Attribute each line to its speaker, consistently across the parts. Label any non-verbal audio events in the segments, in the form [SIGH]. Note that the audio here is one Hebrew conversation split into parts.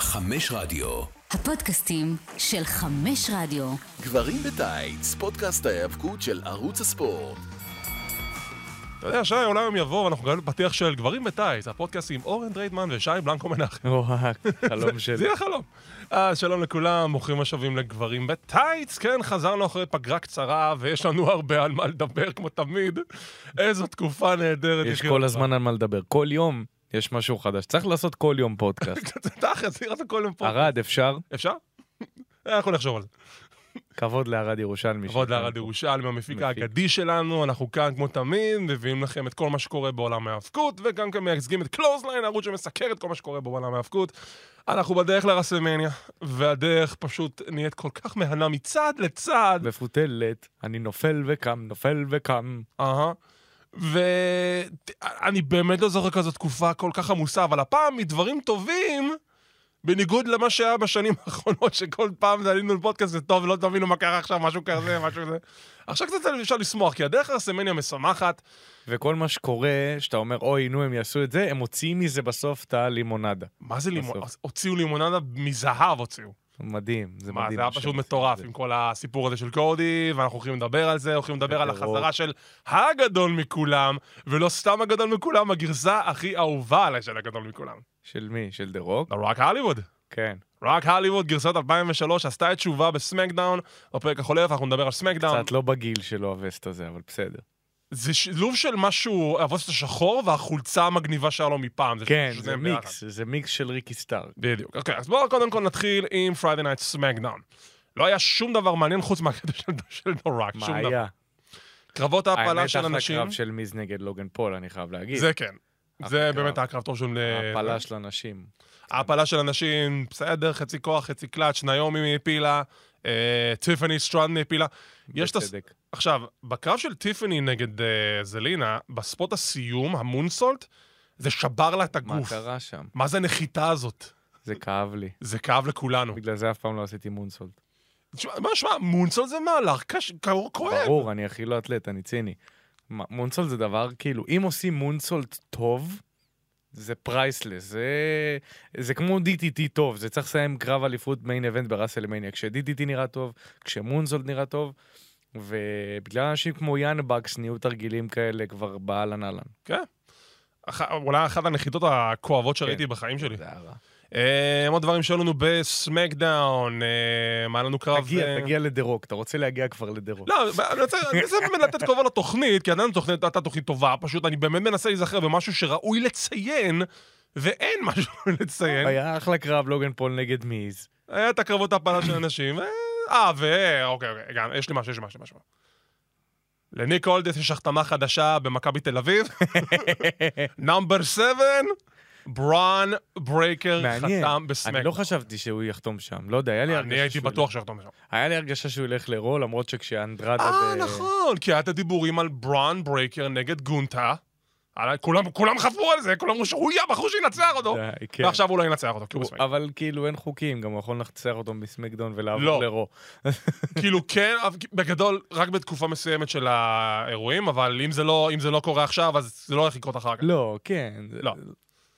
Speaker 1: חמש רדיו.
Speaker 2: הפודקאסטים של חמש רדיו.
Speaker 3: גברים בטייץ, פודקאסט ההיאבקות של ערוץ הספורט.
Speaker 4: אתה יודע, שי, אולי יום יבוא, אנחנו גם בפתיח של גברים בטייס, הפודקאסט עם אורן דרייטמן ושי בלנקו מנחם.
Speaker 5: וואו, חלום
Speaker 4: זה
Speaker 5: שלי.
Speaker 4: יהיה חלום. אז שלום לכולם, ברוכים השבים לגברים בטייץ. כן, חזרנו אחרי פגרה קצרה, ויש לנו הרבה על מה לדבר, כמו תמיד. איזו תקופה נהדרת.
Speaker 5: יש
Speaker 4: לחיות
Speaker 5: כל
Speaker 4: בה.
Speaker 5: הזמן על מה לדבר. כל יום יש משהו חדש. צריך לעשות כל
Speaker 4: [LAUGHS]
Speaker 5: יום פודקאסט.
Speaker 4: [LAUGHS] תכל'ס, עשית כל יום פה.
Speaker 5: ערד, אפשר?
Speaker 4: אפשר? [LAUGHS] אנחנו נחשוב על זה.
Speaker 5: כבוד לערד ירושלמי.
Speaker 4: כבוד
Speaker 5: שאתה
Speaker 4: לערד
Speaker 5: פה.
Speaker 4: ירושלמי, המפיק
Speaker 5: מפיק.
Speaker 4: האגדי שלנו, אנחנו כאן כמו תמיד, מביאים לכם את כל מה שקורה בעולם ההאבקות, וגם כאן מייצגים את קלוזליין, ערוץ שמסקר את כל מה שקורה בעולם ההאבקות. אנחנו בדרך לרסלמניה, והדרך פשוט נהיית כל כך מהנה מצד לצד.
Speaker 5: מפותלת, אני נופל וקם, נופל וקם.
Speaker 4: אהה. ואני באמת לא זוכר כזו תקופה כל כך עמוסה, אבל הפעם מדברים טובים, בניגוד למה שהיה בשנים [LAUGHS] האחרונות, שכל פעם עלינו לפודקאסט, זה טוב, לא תבינו מה קרה עכשיו, משהו כזה, משהו כזה. עכשיו קצת אפשר לשמוח, כי הדרך לרסמניה משמחת,
Speaker 5: וכל מה שקורה, שאתה אומר, אוי, נו, הם יעשו את זה, הם מוציאים מזה בסוף את הלימונדה.
Speaker 4: מה זה לימון?
Speaker 5: בסוף.
Speaker 4: הוציאו לימונדה מזהב הוציאו.
Speaker 5: מדהים, זה
Speaker 4: מה,
Speaker 5: מדהים.
Speaker 4: זה היה
Speaker 5: שהם
Speaker 4: פשוט
Speaker 5: עושים את
Speaker 4: מטורף
Speaker 5: זה.
Speaker 4: עם כל הסיפור הזה של קודי, ואנחנו הולכים לדבר על זה, הולכים לדבר על
Speaker 5: בטירוף.
Speaker 4: החזרה של הגדול מכולם, ולא סתם הגדול מכולם, הגרסה הכי אהובה עליי של הגדול מכולם.
Speaker 5: של מי? של דה רוק?
Speaker 4: רק הוליווד.
Speaker 5: כן.
Speaker 4: רק הוליווד, גרסת 2003, עשתה את תשובה בסמקדאון. בפרק החולף אנחנו נדבר על סמקדאון.
Speaker 5: קצת לא בגיל שלו הווסט הזה, אבל בסדר.
Speaker 4: זה שילוב של משהו, הווסט השחור והחולצה המגניבה שהיה לו מפעם.
Speaker 5: כן,
Speaker 4: שניהם
Speaker 5: זה
Speaker 4: ביחד.
Speaker 5: מיקס, זה מיקס של ריקי סטארק.
Speaker 4: בדיוק. אוקיי, אז בואו קודם כל נתחיל עם Friday Night Smackdown. לא היה שום דבר מעניין חוץ מהקטע של- של דורק, שום
Speaker 5: מה
Speaker 4: דבר.
Speaker 5: היה?
Speaker 4: קרבות ההפלה
Speaker 5: האמת,
Speaker 4: של
Speaker 5: אחלה
Speaker 4: אנשים,
Speaker 5: קרב של מיז נגד לוגן פול, אני חייב להגיד.
Speaker 4: זה כן.
Speaker 5: אחלה
Speaker 4: זה
Speaker 5: קרב.
Speaker 4: באמת הקרב טוב של... אה,
Speaker 5: ההפלה של אנשים.
Speaker 4: ההפלה של אנשים, בסדר, חצי כוח, חצי קלאץ', נעמי הפילה, אה, טיפני סטרן הפילה. יש את הס-
Speaker 5: בצדק.
Speaker 4: עכשיו, בקרב של טיפני נגד אה, זלינה, בספוט הסיום, המונסולט, זה שבר לה את
Speaker 5: מה
Speaker 4: הגוף.
Speaker 5: קרה שם?
Speaker 4: מה זה הנחיתה הזאת?
Speaker 5: זה כאב לי.
Speaker 4: זה כאב לכולנו.
Speaker 5: בגלל זה אף פעם לא עשיתי מונסולט.
Speaker 4: תשמע, מה, שמע, מונסולט זה מהלך קש... כ- כואב.
Speaker 5: ברור, אני הכי לא אתלט, אני ציני. מה, מונסולט זה דבר, כאילו, אם עושים מונסולט טוב, זה פרייסלס, זה... זה כמו DTT טוב, זה צריך לסיים קרב אליפות מיין אבנט בראסלמניה. כש-DTT נראה טוב, כשמונסולט נראה טוב, ובגלל אנשים כמו יאן בקס נהיו תרגילים כאלה כבר באהלן אהלן.
Speaker 4: כן. אח... אולי אחת הנחיתות הכואבות שראיתי בחיים שלי.
Speaker 5: כן. זה היה רע.
Speaker 4: אה, עוד דברים שהיו לנו בסמקדאון, אה, מה היה לנו קרב... אה,
Speaker 5: תגיע, תגיע לדה-רוק, אתה רוצה להגיע כבר לדה-רוק.
Speaker 4: לא, אני רוצה אני מנסה באמת לתת קרובה לתוכנית, כי עדיין התוכנית הייתה תוכנית טובה, פשוט אני באמת מנסה להיזכר במשהו שראוי לציין, ואין משהו [LAUGHS] לציין.
Speaker 5: היה אחלה קרב לוגן פול נגד מיז.
Speaker 4: היה את הקרבות הפלה של אנשים, אה, אה, ו... אוקיי, אוקיי, גם, יש לי משהו, יש לי משהו, יש לי משהו. לניק הולדס יש החתמה חדשה במכבי תל אביב, [LAUGHS] נאמבר 7, ברון ברייקר
Speaker 5: מעניין.
Speaker 4: חתם
Speaker 5: אני לא
Speaker 4: בסמק.
Speaker 5: חשבתי שהוא יחתום שם. לא יודע, היה לי הרגשה
Speaker 4: אני הייתי
Speaker 5: שהוא
Speaker 4: בטוח שיחתום שם.
Speaker 5: ילך- היה לי הרגשה שהוא ילך לרו, למרות שכשאנדרדה...
Speaker 4: אה,
Speaker 5: ו-
Speaker 4: נכון, כי היה את הדיבורים על ברון ברייקר נגד גונטה. על ה- כולם כולם חפרו על זה, כולם אמרו שהוא יהיה הבחור שינצח אותו.
Speaker 5: די, כן.
Speaker 4: ועכשיו הוא לא ינצח אותו, כי הוא
Speaker 5: הוא-
Speaker 4: בסמק.
Speaker 5: אבל כאילו אין חוקים, גם הוא יכול לחצר אותו מסמקדון
Speaker 4: לא.
Speaker 5: ולעבור לרו.
Speaker 4: כאילו כן, אבל בגדול, רק בתקופה מסוימת של האירועים, אבל אם זה לא, אם זה לא קורה עכשיו, אז זה לא הולך לקרות אחר כך.
Speaker 5: לא, כן. זה-
Speaker 4: לא.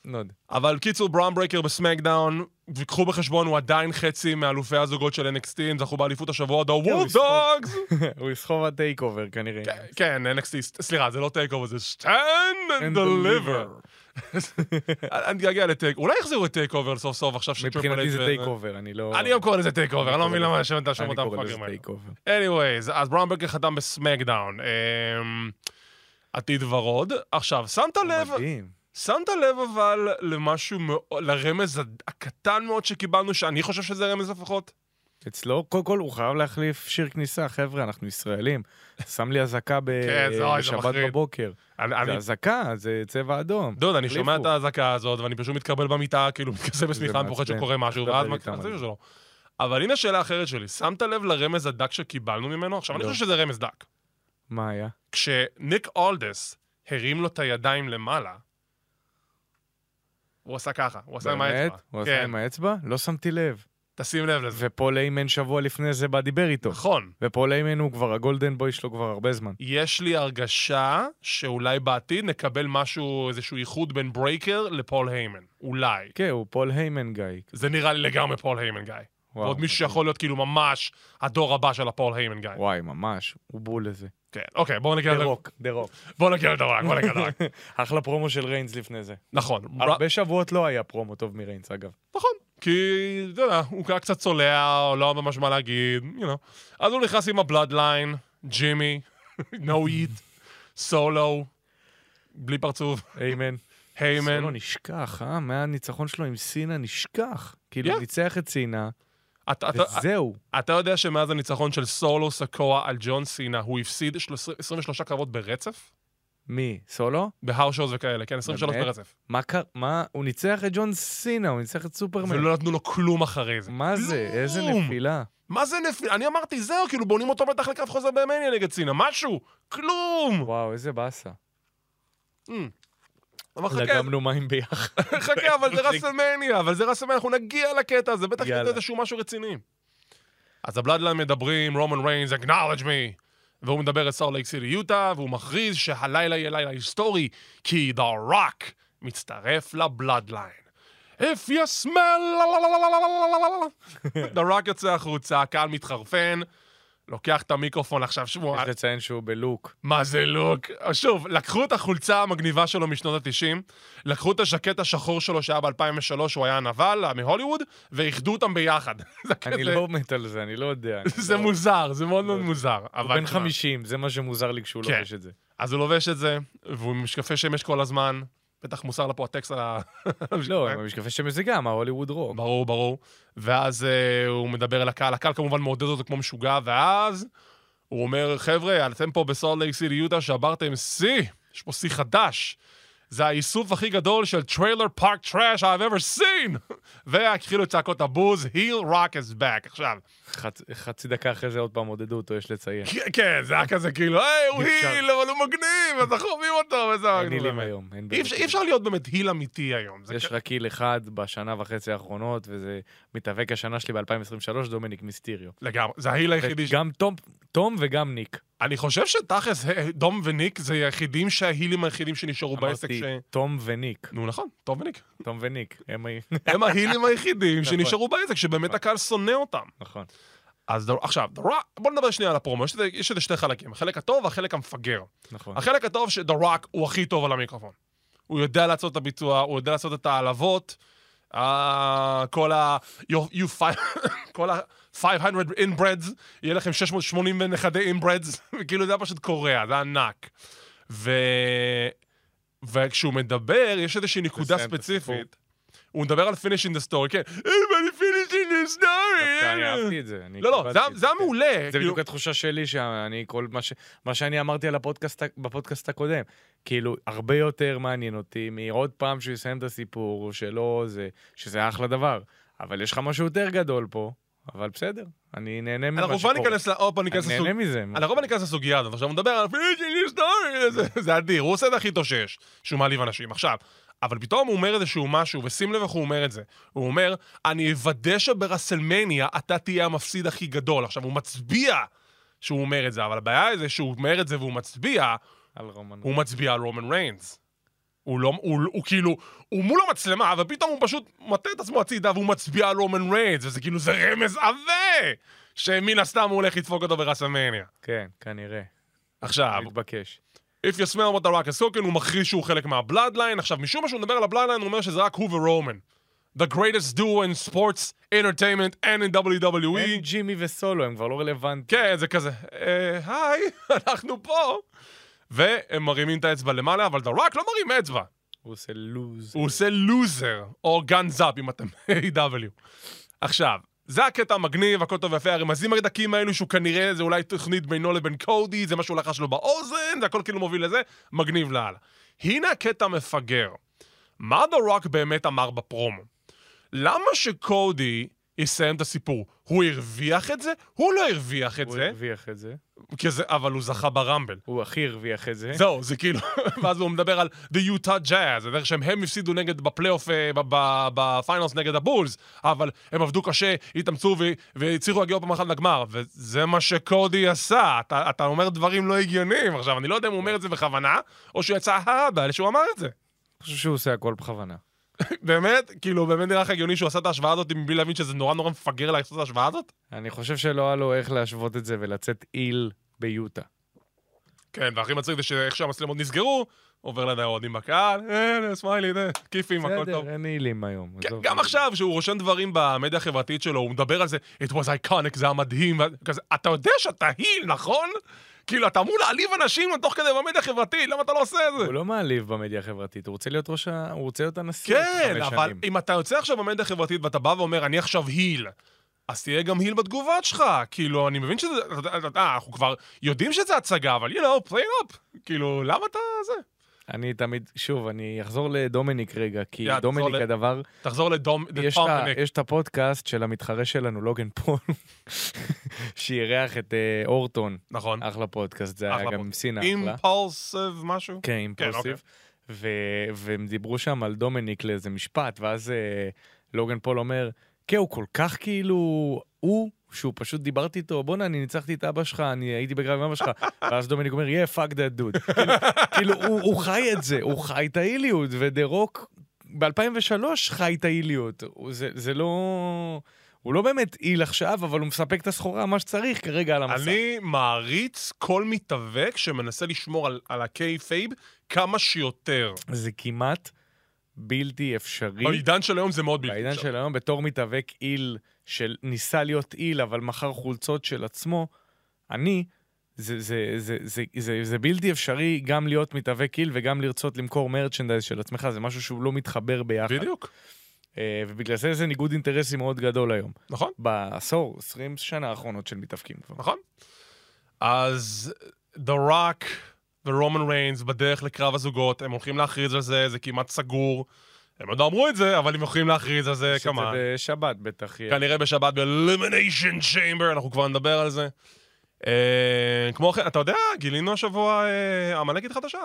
Speaker 5: לא יודע. [LAUGHS]
Speaker 4: אבל קיצור, בראון ברייקר בסמקדאון, וקחו בחשבון, הוא עדיין חצי מאלופי הזוגות של NXT, הם זכו באליפות השבוע, The
Speaker 5: כן, הוא
Speaker 4: Wolf
Speaker 5: יסחוב.
Speaker 4: Dogs!
Speaker 5: הוא יסחוב עד טייק אובר כנראה.
Speaker 4: כן, NXT, ס- סליחה, זה לא טייק אובר, זה stand and
Speaker 5: And
Speaker 4: deliver.
Speaker 5: deliver.
Speaker 4: אני אני אגיע לטייק, אולי יחזירו את טייק אובר סוף סוף עכשיו שטריפל
Speaker 5: מבחינתי
Speaker 4: אייץ'
Speaker 5: זה
Speaker 4: ו-
Speaker 5: טייק אובר, אני לא...
Speaker 4: אני גם קורא לזה טייק אובר, אני לא מבין
Speaker 5: קורא
Speaker 4: למה
Speaker 5: לזה-
Speaker 4: שם את השמות
Speaker 5: אני קורא לזה
Speaker 4: הפאקרים האלה.
Speaker 5: טייק אובר.
Speaker 4: anyways, אז בראון ברייקר חתם בסמקדאון. אמ, עתיד ורוד. עכשיו, שמת לב,
Speaker 5: מדהים.
Speaker 4: שמת לב אבל למשהו, מאו- לרמז הד- הקטן מאוד שקיבלנו, שאני חושב שזה רמז לפחות?
Speaker 5: אצלו, קודם כל הוא חייב להחליף שיר כניסה, חבר'ה, אנחנו ישראלים. שם לי אזעקה ב-
Speaker 4: כן, זה- אוי, זה
Speaker 5: בשבת
Speaker 4: מחריד.
Speaker 5: בבוקר.
Speaker 4: אני,
Speaker 5: זה
Speaker 4: אני,
Speaker 5: אזעקה, זה צבע אדום.
Speaker 4: דוד, אני שומע
Speaker 5: החליפו.
Speaker 4: את האזעקה הזאת, ואני פשוט מתקבל במיטה, כאילו, [LAUGHS] מתכסה בשמיכה, אני פוחד
Speaker 5: מעצבן.
Speaker 4: שקורה משהו,
Speaker 5: צריך
Speaker 4: ואז
Speaker 5: לדבר איתם על
Speaker 4: מקצר
Speaker 5: זה.
Speaker 4: שלו. אבל הנה שאלה אחרת שלי, שמת לב לרמז הדק שקיבלנו ממנו? עכשיו, אני
Speaker 5: לא.
Speaker 4: חושב שזה רמז דק.
Speaker 5: מה היה?
Speaker 4: כשניק אולדס הרים לו את הידיים למעלה, הוא עשה ככה, הוא עשה עם האצבע. כן,
Speaker 5: הוא עשה עם האצבע? לא שמתי לב.
Speaker 4: תשים לב לזה.
Speaker 5: ופול איימן שבוע לפני זה בא דיבר איתו.
Speaker 4: נכון.
Speaker 5: ופול איימן הוא כבר הגולדן בוי שלו כבר הרבה זמן.
Speaker 4: יש לי הרגשה שאולי בעתיד נקבל משהו, איזשהו איחוד בין ברייקר לפול היימן. אולי.
Speaker 5: כן, הוא פול היימן גיא.
Speaker 4: זה נראה לי לגמרי פול היימן גיא.
Speaker 5: וואו.
Speaker 4: ועוד מישהו שיכול להיות כאילו ממש הדור הבא של הפול היימן גיא.
Speaker 5: וואי, ממש, הוא בול לזה.
Speaker 4: כן, אוקיי, בואו נגיע
Speaker 5: דה
Speaker 4: לדרוק.
Speaker 5: רוק, דה רוק.
Speaker 4: בואו נגיע לדרוק, בואו נגיע
Speaker 5: [LAUGHS]
Speaker 4: לדרוק.
Speaker 5: אחלה פרומו של ריינס לפני זה.
Speaker 4: נכון.
Speaker 5: הרבה שבועות לא היה פרומו טוב מריינס, אגב.
Speaker 4: נכון, כי, אתה יודע, הוא היה קצת צולע, או לא ממש מה להגיד, you know. אז הוא נכנס עם הבלאדליין, ג'ימי, [LAUGHS] נו איט, סולו, בלי פרצוף,
Speaker 5: איימן.
Speaker 4: היימן.
Speaker 5: סולו נשכח, אה? מהניצחון שלו עם סינה נשכח. כאילו,
Speaker 4: Yeah.
Speaker 5: ניצח את סינה,
Speaker 4: אתה- אתה-
Speaker 5: וזהו.
Speaker 4: אתה יודע שמאז הניצחון של סולו סקואה על ג'ון סינה, הוא הפסיד של- 23 קרבות ברצף?
Speaker 5: מי? סולו?
Speaker 4: בהאושוז וכאלה, כן, 23
Speaker 5: באמת?
Speaker 4: ברצף.
Speaker 5: מה קר... מה? הוא ניצח את ג'ון סינה, הוא ניצח את סופרמן.
Speaker 4: ולא נתנו לו כלום אחרי זה.
Speaker 5: מה זה? איזה
Speaker 4: לא- כלום.
Speaker 5: נפילה.
Speaker 4: מה זה נפיל? אני אמרתי, זהו, כאילו בונים אותו בטח לקרב חוזר במניה נגד סינה, משהו! כלום!
Speaker 5: וואו, איזה באסה.
Speaker 4: אבל חכה,
Speaker 5: לגמנו
Speaker 4: [LAUGHS]
Speaker 5: מים ביחד.
Speaker 4: חכה, אבל זה רסלמניה, אבל זה רסלמניה, אנחנו נגיע לקטע הזה, בטח
Speaker 5: יאללה.
Speaker 4: יהיה איזשהו משהו רציני. אז הבלאדליין מדברים, רומן ריינס, acknowledge me, והוא מדבר את סאר לייק סיטי יוטה, והוא מכריז שהלילה יהיה לילה היסטורי, כי The Rock מצטרף לבלאדליין. If you smell... The Rock יוצא החוצה, הקהל מתחרפן, לוקח את המיקרופון עכשיו, שבו...
Speaker 5: יש לציין שהוא בלוק.
Speaker 4: מה זה לוק? שוב, לקחו את החולצה המגניבה שלו משנות ה-90, לקחו את הז'קט השחור שלו שהיה ב-2003, הוא היה הנבל אה, מהוליווד, ואיחדו אותם ביחד. [LAUGHS] כן, זה כזה...
Speaker 5: אני לא מת על זה, אני לא יודע. אני
Speaker 4: זה
Speaker 5: לא-
Speaker 4: מוזר, זה מאוד מאוד מוזר.
Speaker 5: הוא
Speaker 4: אבל
Speaker 5: בן
Speaker 4: תשמע,
Speaker 5: 50, זה מה שמוזר לי כשהוא
Speaker 4: כן.
Speaker 5: לובש את זה.
Speaker 4: אז הוא לובש את זה, והוא עם משקפי שמש כל הזמן, בטח מוסר לפה הטקסט [LAUGHS] על ה...
Speaker 5: לא,
Speaker 4: אה.
Speaker 5: עם המשקפי שמש זה גם, ההוליווד רוק.
Speaker 4: ברור, ברור. ואז אה, הוא מדבר אל הקהל, הקהל כמובן מעודד אותו כמו משוגע, ואז הוא אומר, חבר'ה, אתם פה בסולד לייק סיטי יוטה שברתם שיא, יש פה שיא חדש. זה האיסוף הכי גדול של טריילר פארק טראש I've ever seen! [LAUGHS] והתחילו את צעקות הבוז, heal rock is back. עכשיו,
Speaker 5: חצ- חצי דקה אחרי זה עוד פעם עודדו אותו, יש לציין.
Speaker 4: כן, כן, זה היה כזה כאילו, היי, הוא
Speaker 5: אי אפשר.
Speaker 4: היל, אבל הוא מגניב, אז אנחנו אוהבים אותו, וזה...
Speaker 5: אין הילים
Speaker 4: באמת.
Speaker 5: היום. אין
Speaker 4: אי
Speaker 5: באמת
Speaker 4: אפשר- אי
Speaker 5: הילים.
Speaker 4: אפשר להיות באמת היל אמיתי היום. זה
Speaker 5: יש רק היל אחד בשנה וחצי האחרונות, וזה מתאבק השנה שלי ב-2023, דומיניק מיסטיריו.
Speaker 4: לגמרי, זה ההיל היחידי
Speaker 5: גם תום- תום וגם ניק.
Speaker 4: אני חושב שתכלס, אה, דום וניק זה היחידים שההילים היחידים שנשארו בעסק
Speaker 5: אמרתי,
Speaker 4: ש...
Speaker 5: תום וניק.
Speaker 4: נו נכון, טוב וניק.
Speaker 5: תום וניק. הם היו... [LAUGHS]
Speaker 4: הם ההילים היחידים שנשארו בעסק, שבאמת הקהל שונא אותם.
Speaker 5: נכון.
Speaker 4: אז דר- עכשיו, The Rock- בוא נדבר שנייה על הפרומו, יש לזה- יש לזה שתי חלקים, החלק הטוב והחלק המפגר.
Speaker 5: נכון.
Speaker 4: החלק הטוב ש- The Rock הוא הכי טוב על המיקרופון. הוא יודע לעשות את הביצוע, הוא יודע לעשות את העלבות, אה, כל ה... you- you fi- [LAUGHS] כל ה... 500 inbreds, יהיה לכם 680 ונכדי inbreds, [LAUGHS] וכאילו זה היה פשוט קורע, זה ענק. ו... וכשהוא מדבר, יש איזושהי נקודה
Speaker 5: לסיים את
Speaker 4: ספציפית. הוא מדבר על finishing the story, כן. "Hey, אבל finishing the
Speaker 5: דווקא אני
Speaker 4: story.
Speaker 5: אהבתי את זה. אני
Speaker 4: לא, לא,
Speaker 5: קיבלתי
Speaker 4: זה-
Speaker 5: את
Speaker 4: זה היה
Speaker 5: כן.
Speaker 4: מעולה.
Speaker 5: זה
Speaker 4: כאילו-
Speaker 5: בדיוק התחושה שלי, שאני כל מה, ש... מה שאני אמרתי על הפודקאסט, בפודקאסט הקודם. כאילו, הרבה יותר מעניין אותי מעוד פעם שהוא יסיים את הסיפור, או שלא, זה, שזה אחלה דבר. אבל יש לך משהו יותר גדול פה, אבל בסדר, אני נהנה ממה
Speaker 4: אנחנו כבר ניכנס ל... עוד פעם ניכנס
Speaker 5: אני
Speaker 4: לסוג...
Speaker 5: נהנה מזה.
Speaker 4: אני לא ניכנס לסוגיה הזאת, עכשיו הוא מדבר על פיצ'ינג היסטורי, זה- זה אדיר, הוא עושה את הכי טוב שיש, שהוא מעליב אנשים. עכשיו, אבל פתאום הוא אומר איזשהו משהו, ושים לב איך הוא אומר את זה. הוא אומר, אני אוודא שברסלמניה אתה תהיה המפסיד הכי גדול. עכשיו, הוא מצביע שהוא אומר את זה, אבל הבעיה זה שהוא אומר את זה והוא מצביע,
Speaker 5: על רומן.
Speaker 4: הוא מצביע על רומן ריינס. הוא לא, הוא, הוא כאילו, הוא מול המצלמה, אבל פתאום הוא פשוט מטה את עצמו הצידה והוא מצביע על רומן ריינס, וזה כאילו, זה רמז עבה! שמן הסתם הוא הולך לדפוק אותו ברסלמניה.
Speaker 5: כן, כנראה.
Speaker 4: עכשיו,
Speaker 5: מתבקש.
Speaker 4: If you smell what the rock is cooking, הוא מכריז שהוא חלק מהבלאדליין. עכשיו, משום מה שהוא מדבר על הבלאדליין, הוא אומר שזה רק הוא ורומן. The greatest duo in sports, entertainment and in
Speaker 5: אין
Speaker 4: WWE.
Speaker 5: כן, ג'ימי וסולו, הם כבר לא רלוונטיים.
Speaker 4: כן, זה כזה, אה, היי, [LAUGHS] אנחנו פה. והם מרימים את האצבע למעלה, אבל The Rock לא מרים אצבע.
Speaker 5: הוא עושה לוז.
Speaker 4: הוא עושה לוזר, או גאנז אפ אם אתם A.W. עכשיו, זה הקטע המגניב, הכל טוב ויפה, הרמזים הרדקים האלו שהוא כנראה, זה אולי תוכנית בינו לבין קודי, זה מה שהוא לחש לו באוזן, זה הכל כאילו מוביל לזה, מגניב לאללה. הנה הקטע המפגר. מה דה רוק באמת אמר בפרומו? למה שקודי יסיים את הסיפור. הוא הרוויח את זה? הוא לא הרוויח את
Speaker 5: הוא
Speaker 4: זה,
Speaker 5: הרוויח את זה.
Speaker 4: כי זה- אבל הוא זכה ברמבל.
Speaker 5: הוא הכי הרוויח את זה.
Speaker 4: זהו, זה כאילו, [LAUGHS] ואז הוא מדבר על The Utah Jazz, זה דרך שהם הם הפסידו נגד בפלייאוף, אה, ב- ב- בפיינלס נגד הבולס, אבל הם עבדו קשה, התאמצו ו- והצליחו להגיע עוד פעם אחת לגמר, וזה מה שקודי עשה. אתה, אתה אומר דברים לא הגיוניים עכשיו, אני לא יודע אם הוא אומר את זה בכוונה, או שהוא יצא הרבה שהוא אמר את זה. [LAUGHS]
Speaker 5: אני חושב שהוא עושה הכל בכוונה.
Speaker 4: באמת, כאילו, באמת נראה לך הגיוני שהוא עשה את ההשוואה הזאת מבלי להבין שזה נורא נורא מפגר לעשות את ההשוואה הזאת?
Speaker 5: אני חושב שלא היה לו איך להשוות את זה ולצאת איל ביוטה.
Speaker 4: כן, והכי מצחיק זה שאיך שהמצלמות נסגרו, עובר לידי האוהדים בקהל, אה, הנה, סמיילי, הנה, כיפים, הכל טוב.
Speaker 5: בסדר, אין אילים היום.
Speaker 4: כן,
Speaker 5: עזוב.
Speaker 4: גם עכשיו, שהוא רושם דברים במדיה החברתית שלו, הוא מדבר על זה, it was iconic, זה היה מדהים, ואז כזה, אתה יודע שאתה היל, נכון? כאילו, אתה אמור להעליב אנשים תוך כדי במדיה החברתית, למה אתה לא עושה את זה?
Speaker 5: הוא לא מעליב במדיה החברתית, הוא רוצה להיות ראש ה... הוא רוצה להיות הנשיא.
Speaker 4: כן,
Speaker 5: עוד חמש
Speaker 4: אבל
Speaker 5: שנים.
Speaker 4: אם אתה יוצא עכשיו במדיה החברתית ואתה בא ואומר, אני עכשיו היל, אז תהיה גם היל בתגובות שלך. כאילו, אני מבין שזה... אתה- אתה- אתה- אנחנו כבר יודעים שזה הצגה, אבל you know, play it up. כאילו, למה אתה זה?
Speaker 5: אני תמיד, שוב, אני אחזור לדומיניק רגע, כי
Speaker 4: יאללה, תחזור
Speaker 5: דומיניק
Speaker 4: ל-
Speaker 5: הדבר,
Speaker 4: תחזור לדום...
Speaker 5: יש את ה-
Speaker 4: לדומניק.
Speaker 5: יש את הפודקאסט של המתחרה שלנו, לוגן פול, [LAUGHS] שאירח את אה, אורטון,
Speaker 4: נכון.
Speaker 5: אחלה פודקאסט, זה
Speaker 4: אחלה
Speaker 5: היה גם עם
Speaker 4: פודקאסט.
Speaker 5: סינה, אה, אחלה.
Speaker 4: אימפולסיב משהו?
Speaker 5: כן, אימפולסיב. ו- והם דיברו שם על דומיניק לאיזה משפט, ואז אה, לוגן פול אומר, כן, הוא כל כך כאילו, הוא, שהוא פשוט דיברתי איתו, בואנה, אני ניצחתי את אבא שלך, אני הייתי בגרם עם אבא שלך. ואז דומיניק אומר, yeah, fuck that dude. כאילו- כאילו, הוא, הוא חי את זה, הוא חי את האיליות, ודה רוק ב-2003 חי את האיליות. הוא- זה, זה לא... הוא לא באמת איל עכשיו, אבל הוא מספק את הסחורה, מה שצריך כרגע על המסע.
Speaker 4: אני מעריץ כל מתאבק שמנסה לשמור על- על הקיי-פייב כמה שיותר.
Speaker 5: זה כמעט בלתי אפשרי.
Speaker 4: בעידן של היום זה מאוד בלתי
Speaker 5: בעידן
Speaker 4: אפשרי.
Speaker 5: של היום, בתור מתאבק איל, של ניסה להיות איל, אבל מכר חולצות של עצמו, אני, זה, זה, זה, זה, זה, זה, זה בלתי אפשרי גם להיות מתאבק איל וגם לרצות למכור מרצ'נדייז של עצמך, זה משהו שהוא לא מתחבר ביחד.
Speaker 4: בדיוק,
Speaker 5: אה, ובגלל זה זה ניגוד אינטרסים מאוד גדול היום.
Speaker 4: נכון?
Speaker 5: בעשור, 20 שנה האחרונות של מתאבקים כבר.
Speaker 4: נכון. אז The Rock ורומן ריינס בדרך לקרב הזוגות, הם הולכים להכריז על זה, זה כמעט סגור. הם עוד לא אמרו את זה, אבל הם הולכים להכריז על זה,
Speaker 5: יש את
Speaker 4: אה, כמה.
Speaker 5: זה בשבת בטח. יהיה.
Speaker 4: כנראה בשבת ב-Elimination Chamber, אנחנו כבר נדבר על זה. אה, כמו כן, אתה יודע, גילינו השבוע אה, עמלקית חדשה.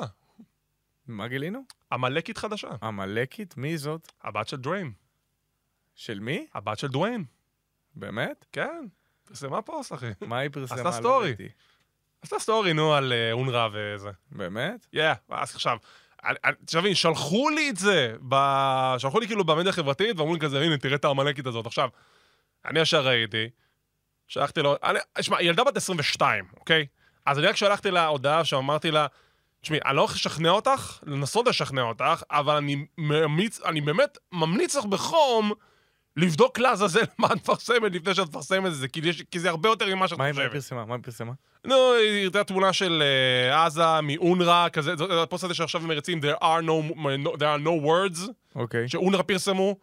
Speaker 5: מה גילינו?
Speaker 4: עמלקית חדשה.
Speaker 5: עמלקית? מי זאת?
Speaker 4: הבת של דריין.
Speaker 5: של מי?
Speaker 4: הבת של דוויין.
Speaker 5: באמת?
Speaker 4: כן. פרסמה פוסט, אחי.
Speaker 5: מה היא פרסמה?
Speaker 4: עשתה
Speaker 5: לא
Speaker 4: סטורי.
Speaker 5: ראיתי.
Speaker 4: עשתה סטורי, נו, על אה, אונר"א וזה.
Speaker 5: באמת?
Speaker 4: יא, אז עכשיו, אני- אני- תבין, שלחו לי את זה, ב- שלחו לי כאילו במדיה החברתית, ואמרו לי כזה, הנה, תראה את העמלקית הזאת. עכשיו, אני ישר ראיתי, שלחתי לו, אני- שמע, היא ילדה בת 22, אוקיי? אז אני רק שלחתי לה הודעה שאמרתי לה, תשמעי, אני לא הולך לשכנע אותך, לנסות לשכנע אותך, אבל אני ממליץ, אני באמת ממליץ לך בחום לבדוק לעזאזל [LAUGHS] מה את מפרסמת לפני שאת מפרסמת את זה, כי יש- כי זה הרבה יותר ממה שאת
Speaker 5: מה היא מה היא
Speaker 4: חושבת.
Speaker 5: פרסמה? מה היא פרסמה?
Speaker 4: נו, היא הראתה תמונה של אה, עזה מאונר"א, כזה, זה- זה הפוסט הזה שעכשיו הם מריצים, there are no, no- there are no words,
Speaker 5: אוקיי.
Speaker 4: שאונר"א פרסמו.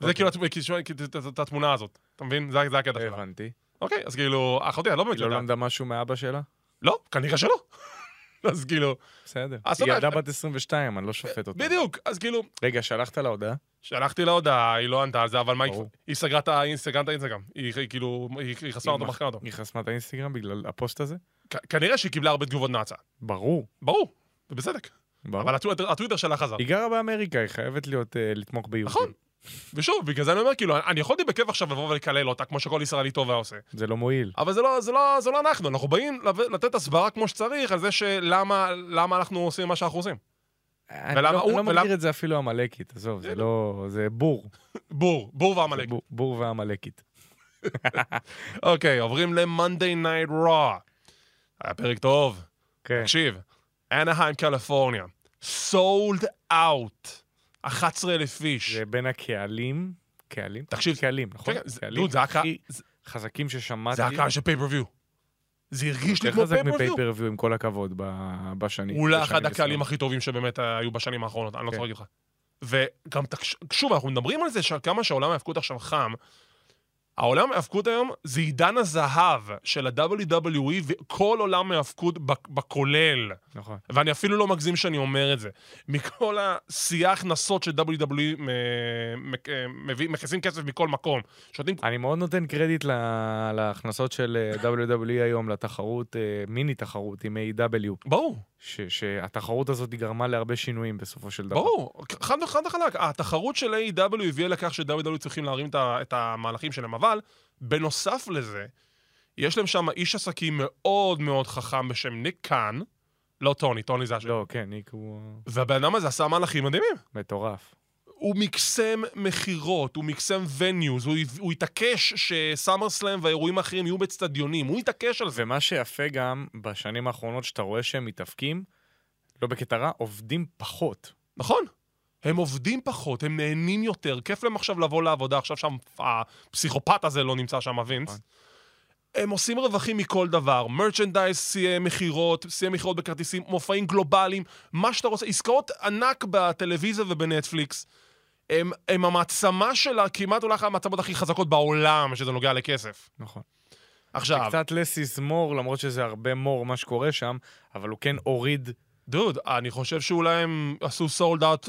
Speaker 4: זה
Speaker 5: אוקיי.
Speaker 4: כאילו התמ- כאילו, כאילו, את- את- את התמונה הזאת, אתה מבין? זה זה הקטע שלה.
Speaker 5: הבנתי.
Speaker 4: אוקיי, אז כאילו, אחותי, אני לא באמת
Speaker 5: היא לא
Speaker 4: יודעת.
Speaker 5: למדה משהו מאבא שלה?
Speaker 4: לא, כנראה שלא. [LAUGHS] אז כאילו,
Speaker 5: בסדר.
Speaker 4: אז
Speaker 5: היא
Speaker 4: אתה-
Speaker 5: ילדה בת 22, אני לא שופט אותה.
Speaker 4: בדיוק, אז כאילו,
Speaker 5: רגע, שלחת לה הודעה?
Speaker 4: שלחתי לה הודעה, היא לא ענתה על זה, אבל מה, היא-
Speaker 5: ברור.
Speaker 4: היא סגרה את ה- היא סגרה את האינסטגרם. היא היא כאילו, היא היא חסמה
Speaker 5: היא
Speaker 4: אותו,
Speaker 5: מח-
Speaker 4: מחקה אותו.
Speaker 5: היא חסמה את האינסטגרם בגלל הפוסט הזה?
Speaker 4: כ- כנראה שהיא קיבלה הרבה תגובות נאצה.
Speaker 5: ברור.
Speaker 4: ברור, ובצדק.
Speaker 5: ברור.
Speaker 4: אבל הטוויטר הטוויטר שלה חזר.
Speaker 5: היא גרה באמריקה, היא חייבת להיות, אה, לתמוך ביהודים.
Speaker 4: נכון. ושוב, בגלל זה אני אומר, כאילו, אני יכול בכיף עכשיו לבוא ולקלל אותה, כמו שכל ישראלי טוב היה עושה.
Speaker 5: זה לא מועיל.
Speaker 4: אבל זה לא, זה לא, זה לא אנחנו, אנחנו באים לב- לתת הסברה כמו שצריך, על זה שלמה למה אנחנו עושים מה שאנחנו עושים.
Speaker 5: אני
Speaker 4: אה, ולמה
Speaker 5: לא-
Speaker 4: הוא-
Speaker 5: לא
Speaker 4: ולמה-
Speaker 5: מכיר את זה אפילו עמלקית, עזוב, זה לא... זה בור.
Speaker 4: בור, בור
Speaker 5: זה
Speaker 4: ועמלק.
Speaker 5: בור- בור ועמלקית.
Speaker 4: אוקיי, עוברים ל-Monday Night Raw. היה פרק טוב.
Speaker 5: כן.
Speaker 4: תקשיב, אנהיים קליפורניה, סולד אאוט, 11,000 איש.
Speaker 5: זה בין הקהלים, קהלים?
Speaker 4: תקשיב,
Speaker 5: קהלים, נכון?
Speaker 4: כן, זה-
Speaker 5: קהלים
Speaker 4: דוד, זה הקה-
Speaker 5: הכי
Speaker 4: זה-
Speaker 5: חזקים ששמעתי.
Speaker 4: זה הקהל של פייפריוויו. זה הרגיש לי
Speaker 5: כאילו?
Speaker 4: כמו
Speaker 5: יותר חזק
Speaker 4: פייפריוויו.
Speaker 5: מפייפריוויו, עם כל הכבוד, ב- בשנים.
Speaker 4: אולי
Speaker 5: בשנים
Speaker 4: לא אחד הקהלים
Speaker 5: מסוימות.
Speaker 4: הכי טובים שבאמת היו בשנים האחרונות, אני לא
Speaker 5: כן.
Speaker 4: צריך להגיד לך. וגם, תקש- שוב, אנחנו מדברים על זה שכמה שהעולם ההאבקות עכשיו חם, העולם ההאבקות היום זה עידן הזהב של ה-WWE וכל עולם ההאבקות בק- בכולל.
Speaker 5: נכון.
Speaker 4: ואני אפילו לא מגזים שאני אומר את זה. מכל השיאי ההכנסות של WWE מ- E, אה, מק- אה, מביא- מכניסים כסף מכל מקום. שותים...
Speaker 5: אני מאוד נותן קרדיט ל- להכנסות של אה, WWE היום לתחרות, אה, מיני תחרות עם A.W.
Speaker 4: ברור,
Speaker 5: ש- שהתחרות הזאת היא גרמה להרבה שינויים בסופו של דבר.
Speaker 4: ברור. חד חד וחלק. התחרות של A.W. הביאה לכך ש-WWE צריכים להרים את ה- את המהלכים שלהם, אבל בנוסף לזה, יש להם שם איש עסקים מאוד מאוד חכם בשם ניק קאן, לא טוני, טוני זה השם.
Speaker 5: לא, כן, ניק הוא
Speaker 4: והבן אדם הזה עשה מהלכים מדהימים.
Speaker 5: מטורף.
Speaker 4: הוא מקסם מכירות, הוא מקסם venues, הוא, הוא התעקש שסאמר סלאם והאירועים האחרים יהיו באצטדיונים, הוא התעקש על זה.
Speaker 5: ומה שיפה גם, בשנים האחרונות שאתה רואה שהם מתאפקים, לא בקטע רע, עובדים פחות.
Speaker 4: נכון. הם עובדים פחות, הם נהנים יותר, כיף להם עכשיו לבוא לעבודה, עכשיו שם הפסיכופת הזה לא נמצא שם,
Speaker 5: נכון.
Speaker 4: וינס. הם עושים רווחים מכל דבר, מרצ'נדייז, שיאי מכירות, שיאי מכירות בכרטיסים, מופעים גלובליים, מה שאתה רוצה, עסקאות ענק בטלוויזיה ובנטפליקס. הם, הם המעצמה שלה, כמעט אולי אחת המעצמות הכי חזקות בעולם, שזה נוגע לכסף.
Speaker 5: נכון.
Speaker 4: עכשיו...
Speaker 5: קצת לסיס מור, למרות שזה הרבה מור מה שקורה שם, אבל הוא כן הוריד...
Speaker 4: דוד, אני חושב שאולי הם עשו סולד אאוט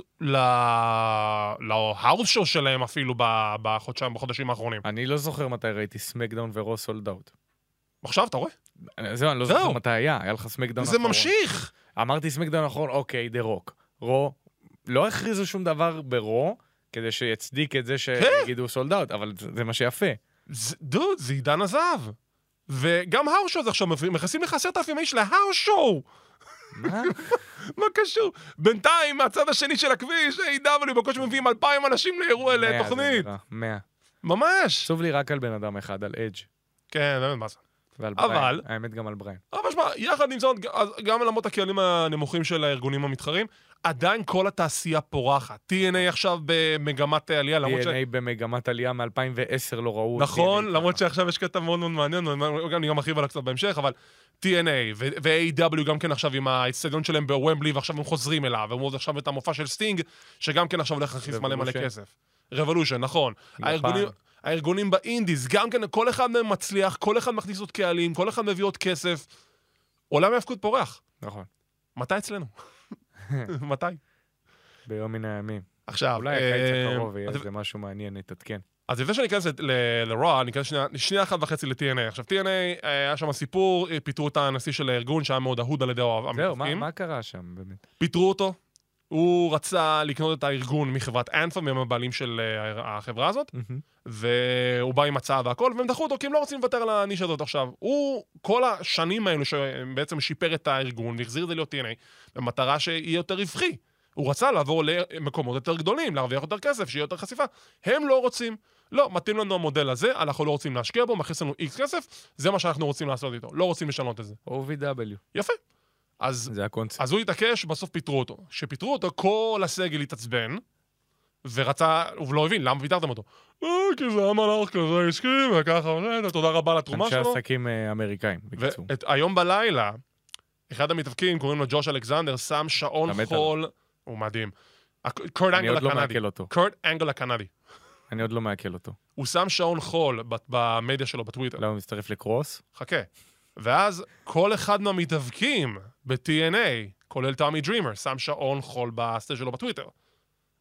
Speaker 4: להאוס שואו שלהם אפילו ב- בחודשיים, בחודשים האחרונים.
Speaker 5: אני לא זוכר מתי ראיתי סמקדאון ורו סולד אאוט.
Speaker 4: עכשיו, אתה רואה?
Speaker 5: זהו, אני לא
Speaker 4: זהו.
Speaker 5: זוכר מתי היה, היה לך סמקדאון
Speaker 4: זה
Speaker 5: אחרון.
Speaker 4: ממשיך!
Speaker 5: אמרתי סמקדאון אחרון, אוקיי, דה רוק. רו, לא הכריזו שום דבר ברו, כדי שיצדיק את זה
Speaker 4: כן.
Speaker 5: שיגידו סולד אאוט, אבל זה זה מה שיפה.
Speaker 4: זה- דוד, זה עידן הזהב. וגם האוס שואו זה עכשיו, מפ- מכניסים לך עשרת אלפים איש להאוס שואו!
Speaker 5: מה?
Speaker 4: מה קשור? בינתיים, מהצד השני של הכביש, A.W. בקושי מביאים אלפיים אנשים לאירוע,
Speaker 5: מאה זה
Speaker 4: לתוכנית.
Speaker 5: נראה, מאה.
Speaker 4: ממש!
Speaker 5: עצוב לי רק על בן אדם אחד, על אדג'
Speaker 4: כן, לא יודע מה זה.
Speaker 5: ועל
Speaker 4: אבל-
Speaker 5: בריין. האמת גם על בריין.
Speaker 4: אבל שמע, אה, יחד עם זאת, אז גם למרות הקהלים הנמוכים של הארגונים המתחרים, עדיין כל התעשייה פורחת. TNA עכשיו במגמת עלייה, למרות ש...
Speaker 5: DNA במגמת עלייה מ-2010 לא ראו...
Speaker 4: נכון,
Speaker 5: DNA
Speaker 4: למרות
Speaker 5: ככה.
Speaker 4: שעכשיו יש קטע מאוד מאוד מעניין, אני גם- אני גם ארחיב עליו קצת בהמשך, אבל TNA ו- ו-AW גם כן עכשיו עם האצטדיון שלהם בוומבלי, ועכשיו הם חוזרים אליו, והם עוד עכשיו את המופע של סטינג, שגם כן עכשיו הולך להכניס מלא מלא
Speaker 5: Revolution.
Speaker 4: כסף. רבולושן, נכון.
Speaker 5: יפן.
Speaker 4: הארגונים... הארגונים באינדיז, גם כן, כל אחד מהם מצליח, כל אחד מכניס עוד קהלים, כל אחד מביא עוד כסף. עולם ההאבקות פורח.
Speaker 5: נכון.
Speaker 4: מתי אצלנו?
Speaker 5: [LAUGHS]
Speaker 4: מתי?
Speaker 5: ביום מן הימים.
Speaker 4: עכשיו,
Speaker 5: אולי הקיץ
Speaker 4: אה,
Speaker 5: הקרוב יהיה
Speaker 4: אז-
Speaker 5: איזה משהו מעניין, נתעדכן.
Speaker 4: אז לפני שאני אכנס לרוע, אני אכנס שנייה- שנייה אחת וחצי ל-TNA. עכשיו, TNA, אה, היה שם סיפור, אה, פיטרו את הנשיא של הארגון, שהיה מאוד אהוד על ידי
Speaker 5: זהו, מה-
Speaker 4: המתפקים.
Speaker 5: מה קרה שם באמת?
Speaker 4: פיטרו אותו. הוא רצה לקנות את הארגון מחברת אנפם, הם הבעלים של אה, החברה הזאת, והוא בא עם הצעה והכל, והם דחו אותו כי הם לא רוצים לוותר על הנישה הזאת עכשיו. הוא, כל השנים האלו שבעצם שיפר את הארגון והחזיר את זה להיות TNA, במטרה שיהיה יותר רווחי. הוא רצה לעבור למקומות יותר גדולים, להרוויח יותר כסף, שיהיה יותר חשיפה. הם לא רוצים. לא, מתאים לנו המודל הזה, אנחנו לא רוצים להשקיע בו, מכניס לנו איקס כסף, זה מה שאנחנו רוצים לעשות איתו. לא רוצים לשנות את זה.
Speaker 5: OVW,
Speaker 4: יפה. אז
Speaker 5: זה הקונספט.
Speaker 4: אז הוא התעקש, בסוף פיטרו אותו. כשפיטרו אותו, כל הסגל התעצבן, ורצה, הוא לא הבין, למה פיטרתם אותו? אה, כי זה היה מלאך כזה עסקי, וככה, אה, תודה רבה על התרומה
Speaker 5: אנשי
Speaker 4: שלו.
Speaker 5: עסקים אה, אמריקאים, בקיצור.
Speaker 4: והיום בלילה, אחד המתאבקים, קוראים לו ג'וש אלכסנדר, שם
Speaker 5: אתה
Speaker 4: שעון
Speaker 5: מת
Speaker 4: חול, הוא מדהים. הק- קורט
Speaker 5: אני
Speaker 4: אנגל
Speaker 5: עוד לא
Speaker 4: הקנדי.
Speaker 5: מעכל אותו.
Speaker 4: קורט אנגל הקנדי.
Speaker 5: אני עוד לא מעכל אותו.
Speaker 4: הוא שם שעון חול ב- במדיה שלו, בטוויטר.
Speaker 5: למה הוא מצטרף לקרוס?
Speaker 4: חכה. ואז כל אחד מהמתאבקים ב-TNA, כולל טומי דרימר, שם שעון חול בסטייל שלו בטוויטר.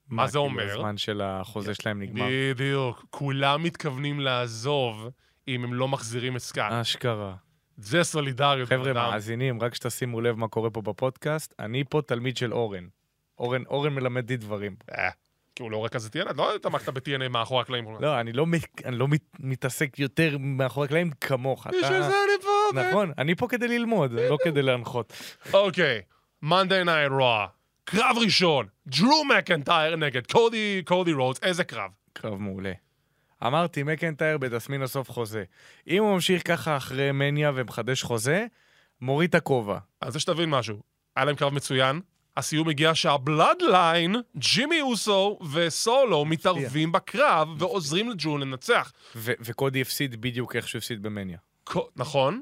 Speaker 4: מה זה
Speaker 5: כאילו,
Speaker 4: אומר?
Speaker 5: הזמן של החוזה שלהם נגמר.
Speaker 4: בדיוק. כולם מתכוונים לעזוב אם הם לא מחזירים את סקאט.
Speaker 5: אשכרה.
Speaker 4: זה סולידריות.
Speaker 5: אה. חבר'ה,
Speaker 4: בן אדם.
Speaker 5: מאזינים, רק שתשימו לב מה קורה פה בפודקאסט, אני פה תלמיד של אורן. אורן, אורן מלמד אותי דברים.
Speaker 4: אה, כי הוא לא רק כזה TNA, לא התעמקת ב-TNA מאחורי הקלעים.
Speaker 5: לא, אני לא, מת- אני לא מת, מתעסק יותר מאחורי הקלעים כמוך. אתה...
Speaker 4: בשביל זה אני פה. ב-
Speaker 5: נכון, אני פה כדי ללמוד, לא כדי להנחות.
Speaker 4: אוקיי, Monday Night Raw. קרב ראשון, דרו מקנטייר נגד קודי, קודי רודס, איזה קרב.
Speaker 5: קרב מעולה. אמרתי, מקנטייר בתסמין הסוף חוזה. אם הוא ממשיך ככה אחרי מניה ומחדש חוזה, מוריד את הכובע.
Speaker 4: אז זה שתבין משהו, היה להם קרב מצוין, הסיום הגיע שהבלאדליין, ג'ימי אוסו וסולו מתערבים בקרב ועוזרים לג'ו לנצח.
Speaker 5: ו- וקודי הפסיד בדיוק איך שהוא הפסיד במניה.
Speaker 4: קו- נכון.